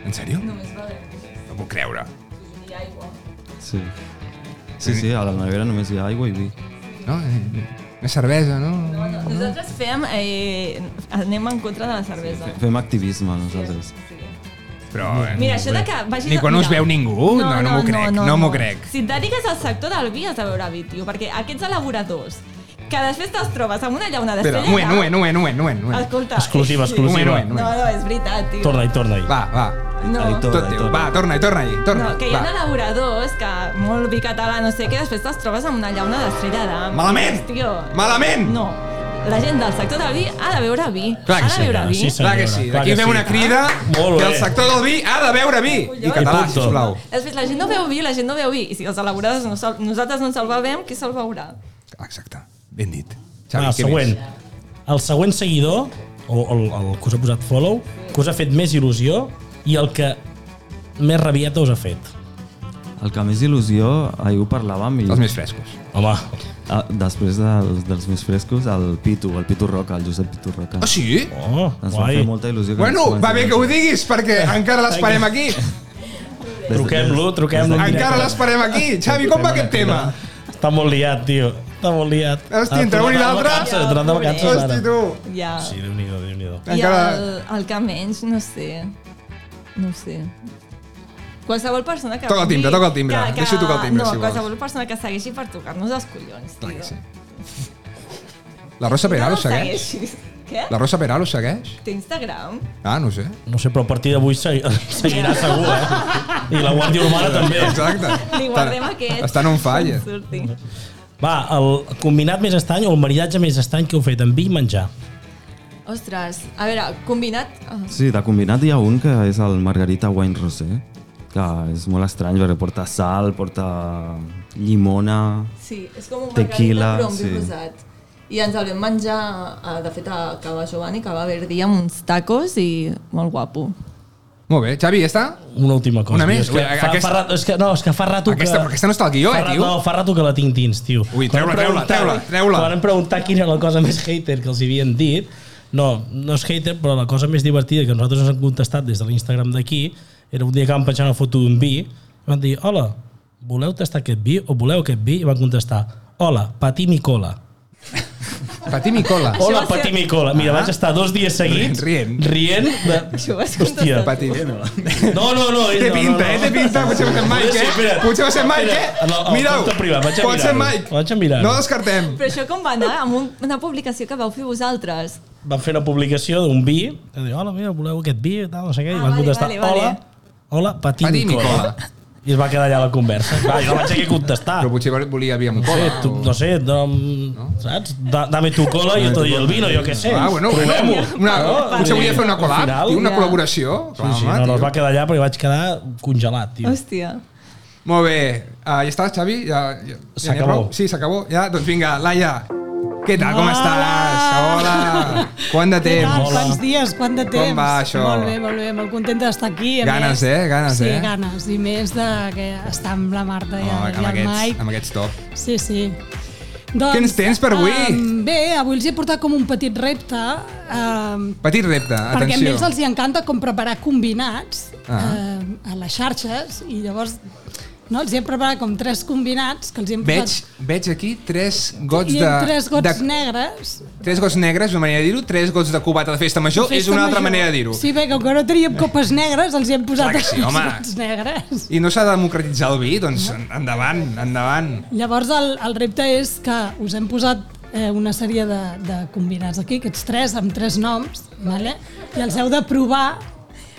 Speaker 2: En sèrio?
Speaker 4: Només bevem vi
Speaker 2: No puc creure.
Speaker 4: i aigua.
Speaker 5: Sí. sí, sí, a la nevera només hi ha aigua i vi.
Speaker 2: No? Eh, Una cervesa, no?
Speaker 4: Nosaltres fem... Eh, anem en contra de la cervesa.
Speaker 5: Fem activisme nosaltres.
Speaker 2: Però... eh,
Speaker 4: Mira, això de que vagis...
Speaker 2: Ni quan no us
Speaker 4: Mira.
Speaker 2: veu ningú? No, no m'ho crec, no m'ho crec.
Speaker 4: Si et dediques al sector del vi has de veure vi, tio, perquè aquests elaboradors que després te'ls trobes amb una llauna
Speaker 2: Espera,
Speaker 4: d'estrella...
Speaker 2: un moment, un moment, un moment, un moment, un moment, un moment.
Speaker 4: Escolta...
Speaker 3: Exclusiva,
Speaker 4: sí.
Speaker 3: exclusiva.
Speaker 2: Un moment, un
Speaker 4: No, no, és veritat, tio.
Speaker 3: Torna-hi, torna-hi.
Speaker 2: Va, va.
Speaker 4: No.
Speaker 5: Editor.
Speaker 2: Tot teu. Va, torna-hi, torna-hi. Torna.
Speaker 4: No, que hi ha
Speaker 2: va.
Speaker 4: elaboradors que molt vi català, no sé què, després te'ls trobes amb una llauna d'estrella d'am.
Speaker 2: Malament!
Speaker 4: Tio.
Speaker 2: Malament!
Speaker 4: No. la gent del sector del vi ha de beure vi.
Speaker 2: Clar que
Speaker 4: ha de
Speaker 2: sí,
Speaker 4: beure
Speaker 3: clar,
Speaker 4: vi.
Speaker 3: sí,
Speaker 2: Clar que sí.
Speaker 3: Clar
Speaker 2: Aquí
Speaker 3: que
Speaker 2: ve
Speaker 3: sí.
Speaker 2: una crida
Speaker 3: Molt
Speaker 2: que el
Speaker 3: bé.
Speaker 2: sector del vi ha de beure vi. I català,
Speaker 3: I punto.
Speaker 2: sisplau.
Speaker 4: Després, la gent no beu vi, la gent no beu vi. I si els elaborades no se'l- nosaltres no ens el bevem, qui se'l beurà?
Speaker 2: Exacte. Ben dit.
Speaker 3: Va, el
Speaker 2: què
Speaker 3: Ah, següent.
Speaker 2: més?
Speaker 3: El següent seguidor, o el, el que us ha posat follow, que us ha fet més il·lusió i el que més rabieta us ha fet.
Speaker 5: El que més il·lusió, ahir ho parlàvem i...
Speaker 2: Els més frescos.
Speaker 3: Home,
Speaker 5: Ah, després dels, dels més frescos, el Pitu, el Pitu Roca, el Josep Pitu Roca.
Speaker 2: Ah, sí?
Speaker 3: oh,
Speaker 5: Ens va
Speaker 3: guai.
Speaker 5: fer molta il·lusió. que
Speaker 2: Bueno,
Speaker 5: ens
Speaker 2: va bé que ho
Speaker 5: comentés.
Speaker 2: diguis, perquè encara l'esperem aquí.
Speaker 5: Des de-
Speaker 3: Truquem-lo, truquem-lo. en
Speaker 2: Encara
Speaker 3: directe.
Speaker 2: l'esperem aquí.
Speaker 3: Ah,
Speaker 2: Xavi, com va aquest tema?
Speaker 3: Està molt liat, tio. Està molt liat.
Speaker 2: Hosti,
Speaker 3: Ha
Speaker 2: entre un i
Speaker 3: tornat de
Speaker 2: l'altre.
Speaker 3: vacances, Ha tornat de vacances,
Speaker 2: Hosti,
Speaker 3: ara.
Speaker 2: tu.
Speaker 4: Ja.
Speaker 3: Sí, déu-n'hi-do, déu-n'hi-do.
Speaker 4: I el,
Speaker 2: Encara...
Speaker 4: el que menys, no sé. No ho sé. Qualsevol persona que...
Speaker 2: Toca el timbre,
Speaker 4: vulgui-
Speaker 2: toca el timbre. Deixa tocar el timbre,
Speaker 4: no,
Speaker 2: si vols.
Speaker 4: qualsevol persona que segueixi per tocar-nos els collons, tio.
Speaker 2: Clar que sí. La Rosa Peral ho
Speaker 4: em
Speaker 2: segueix?
Speaker 4: segueixis. Què?
Speaker 2: La Rosa Peral ho segueix?
Speaker 4: Té Instagram?
Speaker 2: Ah, no ho sé.
Speaker 3: No sé, però a partir d'avui se- <laughs> seguirà segur, eh? I la Guàrdia Urbana també.
Speaker 2: <laughs> Exacte.
Speaker 4: Li guardem aquest.
Speaker 2: Estan on falla.
Speaker 4: Surti.
Speaker 3: Va, el combinat més estany o el maridatge més estany que heu fet amb vi i menjar.
Speaker 4: Ostres, a veure, combinat... ah,
Speaker 5: Sí, de combinat hi ha un que és el Margarita Wine Rosé, que és molt estrany perquè porta sal, porta llimona...
Speaker 4: Sí, és com un margarita
Speaker 5: Tequila,
Speaker 4: però amb
Speaker 5: sí.
Speaker 4: vi rosat. I ens el vam menjar, eh, de fet, a Cava Giovanni, que va haver dia amb uns tacos i molt guapo.
Speaker 2: Molt bé. Xavi, ja està?
Speaker 3: Una última cosa.
Speaker 2: Una
Speaker 3: tio.
Speaker 2: més?
Speaker 3: És que,
Speaker 2: Ui,
Speaker 3: fa,
Speaker 2: aquesta-
Speaker 3: fa rato, és que, no, és que fa rato
Speaker 2: Aquesta,
Speaker 3: que...
Speaker 2: però aquesta no està al guió,
Speaker 3: fa
Speaker 2: eh,
Speaker 3: rato-
Speaker 2: tio?
Speaker 3: No, fa rato que la tinc dins, tio.
Speaker 2: Ui,
Speaker 3: Quan
Speaker 2: treure,
Speaker 3: em
Speaker 2: treure,
Speaker 3: preguntaven-
Speaker 2: treure, treure.
Speaker 3: Quan em preguntar quina era la cosa més hater que els havien dit, no, no és hater, però la cosa més divertida que nosaltres ens han contestat des de l'Instagram d'aquí era un dia que vam penjar una foto d'un vi i van dir, hola, voleu tastar aquest vi o voleu aquest vi? I van contestar, hola, patí mi cola.
Speaker 2: Patí
Speaker 3: <laughs>
Speaker 2: Micola.
Speaker 3: Hola,
Speaker 4: va ser-
Speaker 3: patí mi cola. Mira, vaig estar dos dies seguits
Speaker 2: Ah. Rient,
Speaker 3: rient de...
Speaker 4: Això ho has
Speaker 3: Hòstia,
Speaker 4: contestat.
Speaker 2: Patí.
Speaker 3: no, no, no. ell
Speaker 2: Té
Speaker 3: no, no,
Speaker 2: pinta,
Speaker 3: no.
Speaker 2: eh? Té pinta. Potser va ser Mike,
Speaker 3: Sí,
Speaker 2: eh?
Speaker 3: espera't.
Speaker 2: Potser va ser Mike, eh?
Speaker 3: Espera't, al- al
Speaker 2: Mira-ho.
Speaker 3: compte privat, vaig a
Speaker 2: Pot ser
Speaker 3: mirar-ho.
Speaker 2: Mike.
Speaker 3: Vaig a mirar-ho.
Speaker 2: No descartem.
Speaker 4: Però això com va anar? Amb un, una publicació que vau fer vosaltres.
Speaker 3: van fer una publicació d'un vi, que diu, hola, mira, voleu aquest vi, tal, no sé què,
Speaker 4: Ah,
Speaker 3: i van
Speaker 4: vale,
Speaker 3: contestar,
Speaker 4: vale, vale.
Speaker 3: hola, hola, patí
Speaker 2: Patí
Speaker 3: Nicola.
Speaker 2: Nicola.
Speaker 3: I es va quedar allà la conversa. Clar, jo no vaig haver contestar.
Speaker 2: Però potser volia via amb
Speaker 3: Ah. No sé,
Speaker 2: cola.
Speaker 3: tu, no sé, no, saps? Da- Dame tu cola i jo te diré el vino, jo què sé.
Speaker 2: Ah, bueno,
Speaker 3: Provem-ho.
Speaker 2: una, potser volia fer una
Speaker 3: Al
Speaker 2: col·lab,
Speaker 3: final-
Speaker 2: tio, una
Speaker 4: Ja.
Speaker 2: col·laboració. Clar,
Speaker 3: Sí, sí,
Speaker 2: home,
Speaker 3: no, no, es
Speaker 2: tio.
Speaker 3: va quedar allà perquè vaig quedar congelat, tio.
Speaker 4: Hòstia.
Speaker 2: Molt bé. Ah, ja està, Xavi? Ja, ja, ja n'hi ha
Speaker 3: S'acabó.
Speaker 2: prou? Sí, s'acabó. Ja, doncs vinga, Laia. Què tal? Com estàs? Hola. Quant de
Speaker 7: Què tal?
Speaker 2: temps?
Speaker 7: Quants dies? Quant de temps?
Speaker 2: va això?
Speaker 7: Molt bé, molt bé. Molt contenta d'estar aquí. a
Speaker 2: Ganes,
Speaker 7: més.
Speaker 2: eh? Ganes,
Speaker 7: sí,
Speaker 2: eh?
Speaker 7: Sí, ganes. I més de que estar amb la Marta i,
Speaker 2: Oh,
Speaker 7: el-
Speaker 2: amb,
Speaker 7: i el
Speaker 2: aquests,
Speaker 7: Mike.
Speaker 2: amb aquests top.
Speaker 7: Sí, sí. Doncs,
Speaker 2: Què ens tens per avui?
Speaker 7: em, bé, avui els he portat com un petit repte um,
Speaker 2: Petit repte,
Speaker 7: perquè a
Speaker 2: atenció.
Speaker 7: ells els hi encanta com preparar combinats
Speaker 2: Ah.
Speaker 7: eh, a les xarxes i llavors no, els hi hem preparat com tres combinats que els hi hem
Speaker 2: Veig,
Speaker 7: posat
Speaker 2: veig aquí tres gots
Speaker 7: i
Speaker 2: de...
Speaker 7: amb tres gots
Speaker 2: de,
Speaker 7: negres
Speaker 2: tres gots negres, una manera de dir-ho, tres gots de cubata de festa major,
Speaker 7: Festa
Speaker 2: és una altra
Speaker 7: major.
Speaker 2: manera de dir-ho.
Speaker 7: Sí, bé, com que no teníem copes negres, els hi hem posat
Speaker 2: Clar que sí,
Speaker 7: els
Speaker 2: home.
Speaker 7: gots negres.
Speaker 2: I no s'ha de democratitzar el vi, doncs endavant, endavant.
Speaker 7: Llavors, el, el repte és que us hem posat eh, una sèrie de, de combinats aquí, aquests tres, amb tres noms, vale? i els heu de provar,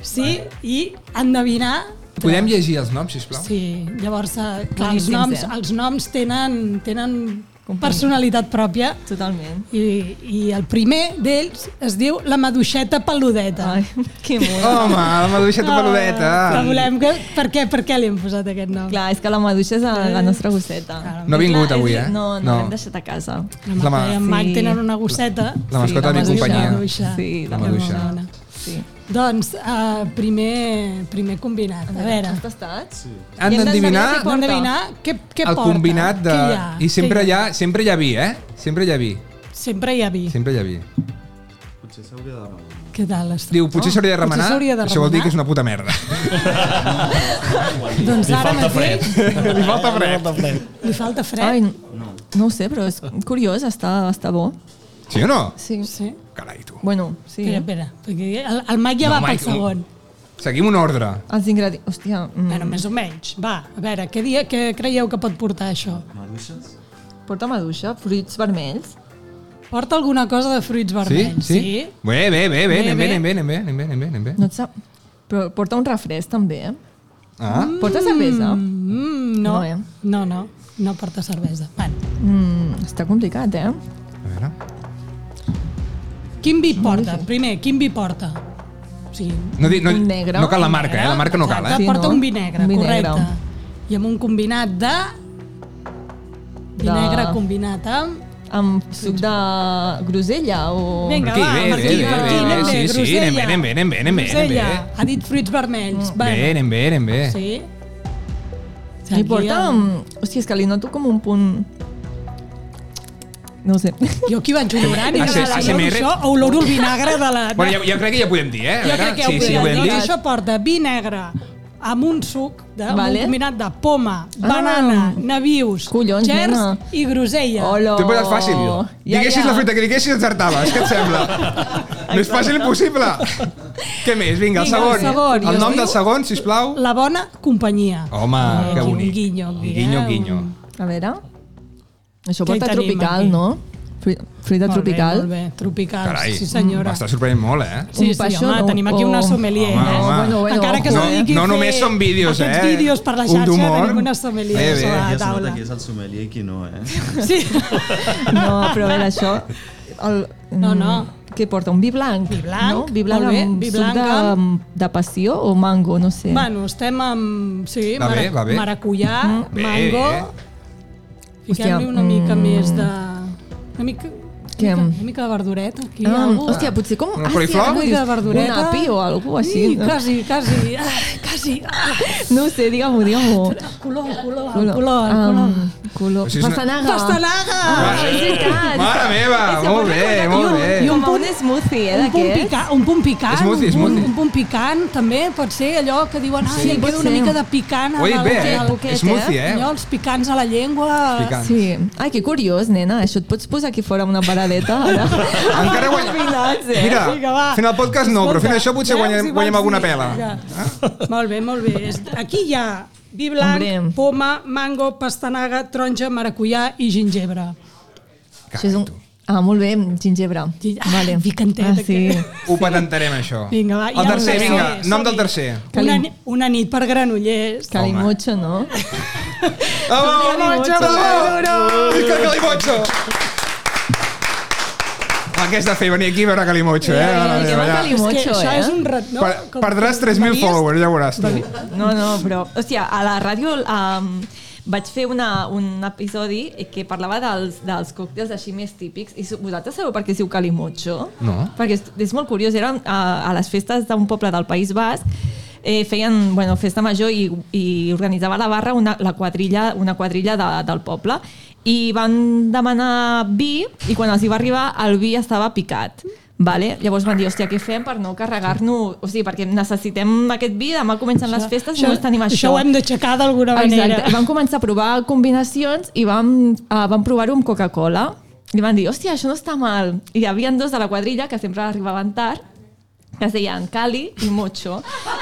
Speaker 7: sí, i endevinar
Speaker 2: Podem llegir els noms, sisplau?
Speaker 7: Sí, llavors, eh, clar, els
Speaker 4: Boníssims,
Speaker 7: noms,
Speaker 4: eh?
Speaker 7: els noms tenen, tenen personalitat pròpia
Speaker 4: Totalment.
Speaker 7: i, i el primer d'ells es diu la maduixeta peludeta.
Speaker 4: Ai, que mono.
Speaker 2: Home, la maduixeta
Speaker 7: Ah,
Speaker 2: peludeta.
Speaker 7: Que volem que, per què, per què li hem posat aquest nom?
Speaker 4: Clar, és que la maduixa és la, la nostra gosseta.
Speaker 2: No ha vingut
Speaker 7: Clar,
Speaker 2: avui, eh?
Speaker 4: No, no, no. l'hem deixat a casa.
Speaker 7: La
Speaker 2: La mà.
Speaker 7: Marta i en Marc
Speaker 4: Sí.
Speaker 7: tenen una gosseta.
Speaker 2: La mascota de
Speaker 4: Sí, la
Speaker 2: mi
Speaker 4: maduixa.
Speaker 2: companyia.
Speaker 7: Maduixa.
Speaker 4: Sí, la
Speaker 7: Que
Speaker 2: maduixa.
Speaker 7: molt bona.
Speaker 4: Sí.
Speaker 7: Doncs, uh, primer, primer combinat. A veure,
Speaker 4: Has tastat? Sí.
Speaker 2: Han d'endevinar
Speaker 7: hem d'endevinar què, què
Speaker 2: el
Speaker 7: porta.
Speaker 2: combinat de...
Speaker 7: Què hi ha?
Speaker 2: I sempre
Speaker 7: Què
Speaker 2: hi ha, sempre hi ha vi, eh? Sempre hi ha vi.
Speaker 7: Sempre hi ha vi.
Speaker 2: Sempre hi ha vi.
Speaker 5: Potser s'hauria de demanar.
Speaker 7: Què tal? Estàs?
Speaker 2: Diu, potser s'hauria de
Speaker 7: Oh, potser
Speaker 2: remenar.
Speaker 7: s'hauria de
Speaker 2: Això vol dir
Speaker 7: remenar.
Speaker 2: que és una puta merda.
Speaker 7: Doncs
Speaker 3: Li
Speaker 7: ara
Speaker 3: falta
Speaker 7: mateix
Speaker 3: fred.
Speaker 2: <laughs> Li falta fred.
Speaker 3: Li falta fred.
Speaker 7: li falta fred.
Speaker 4: Ai, no. no ho sé, però és curiós, està, està bo.
Speaker 2: Sí o no?
Speaker 4: Sí.
Speaker 7: Sí.
Speaker 2: Carai, tu.
Speaker 4: Bueno, sí.
Speaker 7: Espera, espera. Perquè el, el Mike ja
Speaker 2: No,
Speaker 7: va
Speaker 2: Mike,
Speaker 7: pel segon.
Speaker 2: Seguim un ordre.
Speaker 4: Els ingredients... Hòstia, mm,
Speaker 7: Bueno, més o menys. Va, a veure, què, dia, què creieu que pot portar això?
Speaker 5: Maduixes?
Speaker 4: porta maduixa, fruits vermells.
Speaker 7: Porta alguna cosa de fruits
Speaker 2: Sí?
Speaker 7: vermells,
Speaker 2: Sí? Bé, bé, bé, bé, anem bé,
Speaker 7: bé.
Speaker 2: anem bé, anem bé, anem bé, anem bé, anem bé.
Speaker 4: No et sap... Però porta un refresc, també, eh?
Speaker 2: Ah,
Speaker 4: Porta cervesa?
Speaker 7: Mm,
Speaker 4: No,
Speaker 7: no,
Speaker 4: eh?
Speaker 7: no, no, no porta cervesa. Bueno,
Speaker 4: Mm, està complicat, eh?
Speaker 2: a veure.
Speaker 7: Quin vi porta? Primer, quin vi porta? O sigui,
Speaker 2: No, di- no,
Speaker 4: Un negre.
Speaker 2: no cal la marca, eh? La marca no cal,
Speaker 7: que
Speaker 2: eh?
Speaker 4: Sí,
Speaker 7: porta
Speaker 4: no?
Speaker 7: un vi negre,
Speaker 4: Un vi
Speaker 7: correcte.
Speaker 4: negre.
Speaker 7: I amb un combinat de... Vi
Speaker 4: De-
Speaker 7: negre combinat amb...
Speaker 4: Amb suc de grosella o...
Speaker 7: Vinga,
Speaker 2: Aquí,
Speaker 7: va,
Speaker 2: bé,
Speaker 7: per
Speaker 2: bé, bé,
Speaker 7: aquí, per aquí,
Speaker 2: bé,
Speaker 7: anem
Speaker 2: sí,
Speaker 7: bé,
Speaker 2: sí,
Speaker 7: grosella.
Speaker 2: anem bé, anem bé, anem bé, anem bé, anem bé. eh? Mm.
Speaker 7: Grosella, Ha dit fruits vermells.
Speaker 2: Bé,
Speaker 7: Bueno,
Speaker 2: anem bé, anem bé.
Speaker 7: sí.
Speaker 4: I porta... Amb... Hòstia, és que li noto com un punt... No ho sé.
Speaker 7: Jo aquí vaig olorant i
Speaker 2: Ah, sí,
Speaker 7: de vegades
Speaker 2: ASMR.
Speaker 7: això oloro el vinagre de la...
Speaker 2: Bueno, ja, ja crec que ja podem dir, eh? A
Speaker 7: Jo
Speaker 2: veure,
Speaker 7: crec que ho
Speaker 2: sí, sí,
Speaker 7: podem
Speaker 2: ho podem
Speaker 7: dir. Doncs
Speaker 2: dir.
Speaker 7: Això porta vi negre amb un suc, de, amb
Speaker 4: Vale.
Speaker 7: un combinat de poma,
Speaker 2: Ah.
Speaker 7: banana, navius,
Speaker 4: Collons,
Speaker 7: xers
Speaker 4: nena.
Speaker 7: i grosella.
Speaker 4: Hola.
Speaker 2: T'ho he posat fàcil. diguessis la fruita que diguessis, encertaves. Què et sembla? no és fàcil possible. Què més? Vinga, el
Speaker 7: Vinga,
Speaker 2: segon.
Speaker 7: el segon. I
Speaker 2: El
Speaker 7: es
Speaker 2: nom
Speaker 7: diu-
Speaker 2: del segon, sisplau.
Speaker 7: La Ah, bona companyia. Eh,
Speaker 2: Home,
Speaker 7: Aquí
Speaker 2: que bonic.
Speaker 7: Un guinyo.
Speaker 2: I
Speaker 7: aquí,
Speaker 2: guinyo,
Speaker 7: eh?
Speaker 2: guinyo.
Speaker 4: A veure... Això
Speaker 7: Què hi
Speaker 4: porta
Speaker 7: tenim
Speaker 4: tropical,
Speaker 7: aquí?
Speaker 4: no? Fru- Fruita
Speaker 7: Molt
Speaker 4: tropical.
Speaker 7: Bé, molt bé, tropical,
Speaker 2: Carai,
Speaker 7: Ah, sí senyora.
Speaker 2: m'està sorprenent molt, eh?
Speaker 7: Sí,
Speaker 4: Un
Speaker 7: sí,
Speaker 4: paixó,
Speaker 7: home,
Speaker 4: no?
Speaker 7: tenim aquí una
Speaker 4: O-
Speaker 7: sommelier.
Speaker 2: Oh. Home,
Speaker 7: eh?
Speaker 2: home.
Speaker 4: Bueno, bueno,
Speaker 7: Encara que
Speaker 4: ojo,
Speaker 7: es
Speaker 4: eh?
Speaker 7: dediqui
Speaker 2: No
Speaker 7: a fer
Speaker 2: només són vídeos,
Speaker 7: aquests
Speaker 2: eh?
Speaker 7: vídeos per la
Speaker 2: Un
Speaker 7: xarxa,
Speaker 2: d'humor.
Speaker 7: tenim una sommelier
Speaker 2: Bé, bé.
Speaker 7: a
Speaker 2: Ja
Speaker 5: es
Speaker 7: la
Speaker 5: nota
Speaker 7: taula.
Speaker 5: qui és el sommelier i qui no, eh?
Speaker 7: <laughs> Sí,
Speaker 2: <laughs>
Speaker 4: No, però a veure, això... El, mm,
Speaker 7: No, no.
Speaker 4: Què porta? Un vi blanc?
Speaker 7: Vi blanc,
Speaker 4: no? Vi blanc
Speaker 7: molt bé,
Speaker 4: amb
Speaker 7: vi
Speaker 4: suc
Speaker 7: blanc
Speaker 4: de, mm, de passió o mango, no sé.
Speaker 7: bueno, estem amb... Sí,
Speaker 2: Va bé,
Speaker 7: mara-
Speaker 2: va bé.
Speaker 7: maracuyà,
Speaker 2: Bé, eh?
Speaker 7: mango... Fiquem-li
Speaker 4: Mm-hmm. Hòstia,
Speaker 7: una mica
Speaker 4: mm.
Speaker 7: més de... Una mica,
Speaker 4: Què?
Speaker 7: una mica, una mica de verdureta, aquí.
Speaker 4: Ah,
Speaker 7: algú.
Speaker 4: hòstia, potser com...
Speaker 2: Una
Speaker 4: ah, sí,
Speaker 2: coliflor?
Speaker 4: ara que ho
Speaker 7: Una
Speaker 4: dius,
Speaker 7: mica de verdureta.
Speaker 4: Un api o alguna així.
Speaker 7: Sí,
Speaker 4: no?
Speaker 7: quasi, quasi. Ah, quasi. Ah,
Speaker 4: No ho sé, digue-m'ho, digue-m'ho.
Speaker 7: color, color, color, color. color.
Speaker 4: Um, color.
Speaker 2: Això és una-
Speaker 4: Pastanaga.
Speaker 7: Pastanaga!
Speaker 4: Ah, és veritat.
Speaker 2: Mare meva,
Speaker 4: És que
Speaker 2: molt
Speaker 4: porta
Speaker 2: bé,
Speaker 4: com
Speaker 2: molt
Speaker 4: un-
Speaker 2: bé.
Speaker 4: I un punt smoothie, eh,
Speaker 2: Ah,
Speaker 7: un punt,
Speaker 4: d'aquests.
Speaker 7: pica, un punt picant,
Speaker 2: Smoothie,
Speaker 7: un, punt,
Speaker 2: smoothie.
Speaker 7: un punt picant, també pot ser allò que diuen, ah,
Speaker 4: Sí,
Speaker 7: sí, em
Speaker 4: pot
Speaker 7: queda una
Speaker 4: ser.
Speaker 7: mica de picant.
Speaker 2: Ho he dit bé,
Speaker 4: Poquet,
Speaker 2: eh?
Speaker 4: poquet,
Speaker 2: Smoothie,
Speaker 7: eh?
Speaker 2: eh?
Speaker 7: Allò, els picants a la llengua...
Speaker 2: Picant.
Speaker 4: Sí. Ai, que curiós, nena. Això et pots posar aquí fora amb una paradeta, ara?
Speaker 2: Encara guanyem...
Speaker 4: Combinats, eh?
Speaker 2: Mira,
Speaker 7: Vinga, va.
Speaker 2: fent el podcast no, però fent
Speaker 7: Escolta,
Speaker 2: això potser
Speaker 7: veus
Speaker 2: guanyem,
Speaker 7: si
Speaker 2: guanyem
Speaker 7: vaig
Speaker 2: alguna
Speaker 7: dir?
Speaker 2: pela. Eh?
Speaker 7: Ja. Molt bé, molt bé. És- Aquí hi ha vi blanc,
Speaker 4: Hombre.
Speaker 7: poma, mango, pastanaga, taronja, maracuyà i gingebre.
Speaker 4: Això és un... Ah, molt bé, gingebre.
Speaker 7: Gi- Ah,
Speaker 4: Vale.
Speaker 7: picantet,
Speaker 4: ah, sí.
Speaker 7: aquest.
Speaker 2: Ho patentarem, això.
Speaker 7: Vinga, va, i
Speaker 2: El
Speaker 7: el
Speaker 2: tercer,
Speaker 7: tercer,
Speaker 2: vinga, nom
Speaker 7: som-hi.
Speaker 2: del tercer.
Speaker 7: Una, ni- una nit per Granollers.
Speaker 4: Calimocho, no?
Speaker 2: Bravo,
Speaker 4: Calimocho,
Speaker 2: bravo! Visca el Calimocho! Aquesta fer, venir aquí a veure Calimocho, eh? Mare
Speaker 4: que
Speaker 2: meva,
Speaker 4: va
Speaker 2: ja.
Speaker 4: Calimocho.
Speaker 7: És que això
Speaker 4: eh?
Speaker 7: és un rat... No?
Speaker 2: Per-
Speaker 7: Com-
Speaker 2: Perdràs
Speaker 7: com-
Speaker 2: 3.000
Speaker 7: venies-
Speaker 2: followers, ja ho veuràs tu.
Speaker 4: No, no, però... Hòstia, a la ràdio um, vaig fer una, un episodi que parlava dels, dels còctels així més típics i so- vosaltres sabeu per què es diu calimocho?
Speaker 2: No.
Speaker 4: Perquè és, és molt curiós, era a, a les festes d'un poble del País Basc eh, feien bueno, festa major i, i organitzava la barra una, la quadrilla, una quadrilla de, del poble i van demanar vi i quan els hi va arribar el vi estava picat Vale? Llavors van dir, hòstia, què fem per no carregar-nos... O sigui, perquè necessitem aquest vi, demà comencen les festes i no tenim això.
Speaker 7: Això ho hem d'aixecar d'alguna manera.
Speaker 4: Exacte. Vam començar a provar combinacions i vam, uh, vam provar-ho amb Coca-Cola. I van dir, hòstia, això no està mal. I hi havia dos de la quadrilla que sempre arribaven tard que es deien Cali i Mocho.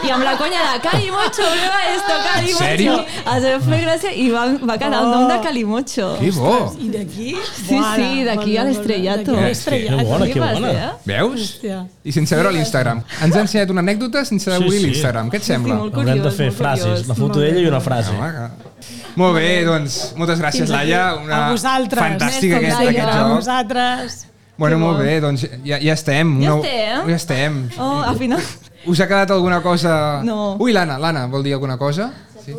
Speaker 4: I amb la conya de Cali Mocho, prueba esto, Cali
Speaker 2: sèrio?
Speaker 4: Mocho. Els vam fer gràcia i va, va quedar el nom de Cali Mocho.
Speaker 2: Que bo!
Speaker 7: I d'aquí?
Speaker 4: Sí, sí, d'aquí a l'estrellato.
Speaker 7: D'aquí a
Speaker 3: Que
Speaker 7: l'estrellato.
Speaker 3: bona, que
Speaker 4: Flipes,
Speaker 3: bona.
Speaker 4: eh?
Speaker 2: Veus?
Speaker 7: Hòstia.
Speaker 2: I sense veure l'Instagram. Ens ha ensenyat una anècdota sense
Speaker 3: Sí,
Speaker 2: obrir
Speaker 3: sí.
Speaker 2: l'Instagram. Què et
Speaker 4: Sí,
Speaker 2: sembla?
Speaker 4: molt curiós,
Speaker 3: Haurem de fer
Speaker 4: molt
Speaker 3: frases,
Speaker 4: curiós.
Speaker 3: la foto d'ella i una frase.
Speaker 2: Home, que... Molt bé, doncs, moltes gràcies,
Speaker 7: Fins aquí.
Speaker 2: Laia. Una
Speaker 7: A vosaltres.
Speaker 2: Fantàstica
Speaker 4: Més
Speaker 2: aquesta,
Speaker 4: com
Speaker 2: aquest
Speaker 4: Laia.
Speaker 7: A
Speaker 2: joc.
Speaker 7: vosaltres.
Speaker 2: Bueno, molt bé, doncs ja, ja estem.
Speaker 4: Ja
Speaker 2: Una-
Speaker 4: estem?
Speaker 2: Ja estem.
Speaker 4: Oh, al final...
Speaker 2: Us ha quedat alguna cosa...
Speaker 4: No.
Speaker 2: Ui, l'Anna, l'Anna, vol dir alguna cosa? Sí.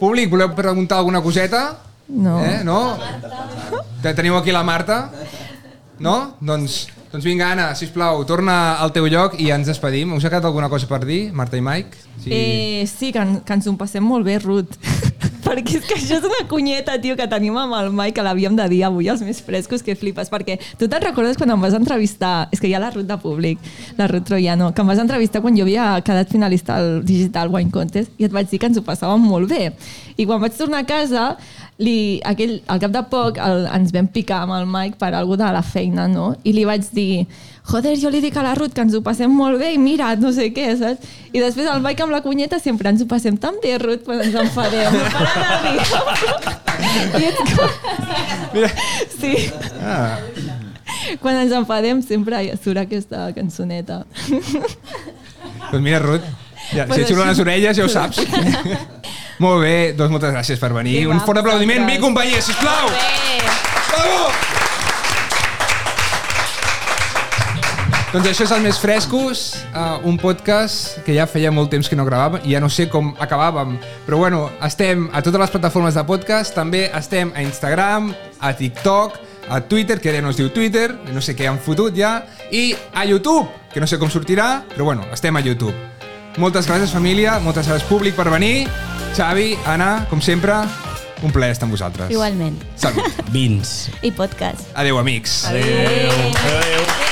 Speaker 2: Públic, voleu preguntar alguna coseta?
Speaker 4: No.
Speaker 2: Eh? No? Te- Teniu aquí la Marta? No? Doncs, doncs vinga, Anna, sisplau, torna al teu lloc i ja ens despedim. Us ha quedat alguna cosa per dir, Marta i Mike?
Speaker 4: Sí, eh, sí que, en- que ens ho passem molt bé, Ruth. <laughs> perquè és que això és una cunyeta, tio, que tenim amb el Mike, que l'havíem de dir avui els més frescos, que flipes, perquè tu te'n recordes quan em vas entrevistar, és que hi ha la Ruth de públic, la Ruth Troiano, que em vas entrevistar quan jo havia quedat finalista al Digital Wine Contest i et vaig dir que ens ho passàvem molt bé. I quan vaig tornar a casa, li, aquell, al cap de poc el, ens vam picar amb el Mike per algú de la feina, no? I li vaig dir, joder, jo li dic a la Ruth que ens ho passem molt bé i mira, no sé què, saps? I després el Mike amb la cunyeta sempre ens ho passem tan bé, Ruth, quan ens enfadem. Para de dir. I ets com...
Speaker 2: Mira.
Speaker 4: Sí,
Speaker 2: Ah.
Speaker 4: quan ens enfadem sempre surt aquesta cançoneta.
Speaker 2: Doncs mira, Ruth, ja, si
Speaker 4: Però
Speaker 2: et surten
Speaker 4: sí.
Speaker 2: les orelles ja ho
Speaker 4: <laughs>
Speaker 2: saps. Molt bé, doncs moltes gràcies per venir.
Speaker 4: Vinga,
Speaker 2: Un fort aplaudiment,
Speaker 4: vosaltres.
Speaker 2: mi companyia, sisplau!
Speaker 6: Bé.
Speaker 2: Bravo! Doncs això és el Més Frescos, uh, un podcast que ja feia molt temps que no gravàvem i ja no sé com acabàvem, però bueno, estem a totes les plataformes de podcast, també estem a Instagram, a TikTok, a Twitter, que ara no es diu Twitter, no sé què han fotut ja, i a YouTube, que no sé com sortirà, però bueno, estem a YouTube. Moltes gràcies, família, moltes gràcies, públic, per venir. Xavi, Anna, com sempre, un plaer estar amb vosaltres.
Speaker 1: Igualment.
Speaker 2: Salut.
Speaker 3: Vins.
Speaker 1: I podcast.
Speaker 2: Adeu, amics.
Speaker 3: Adéu. Adéu.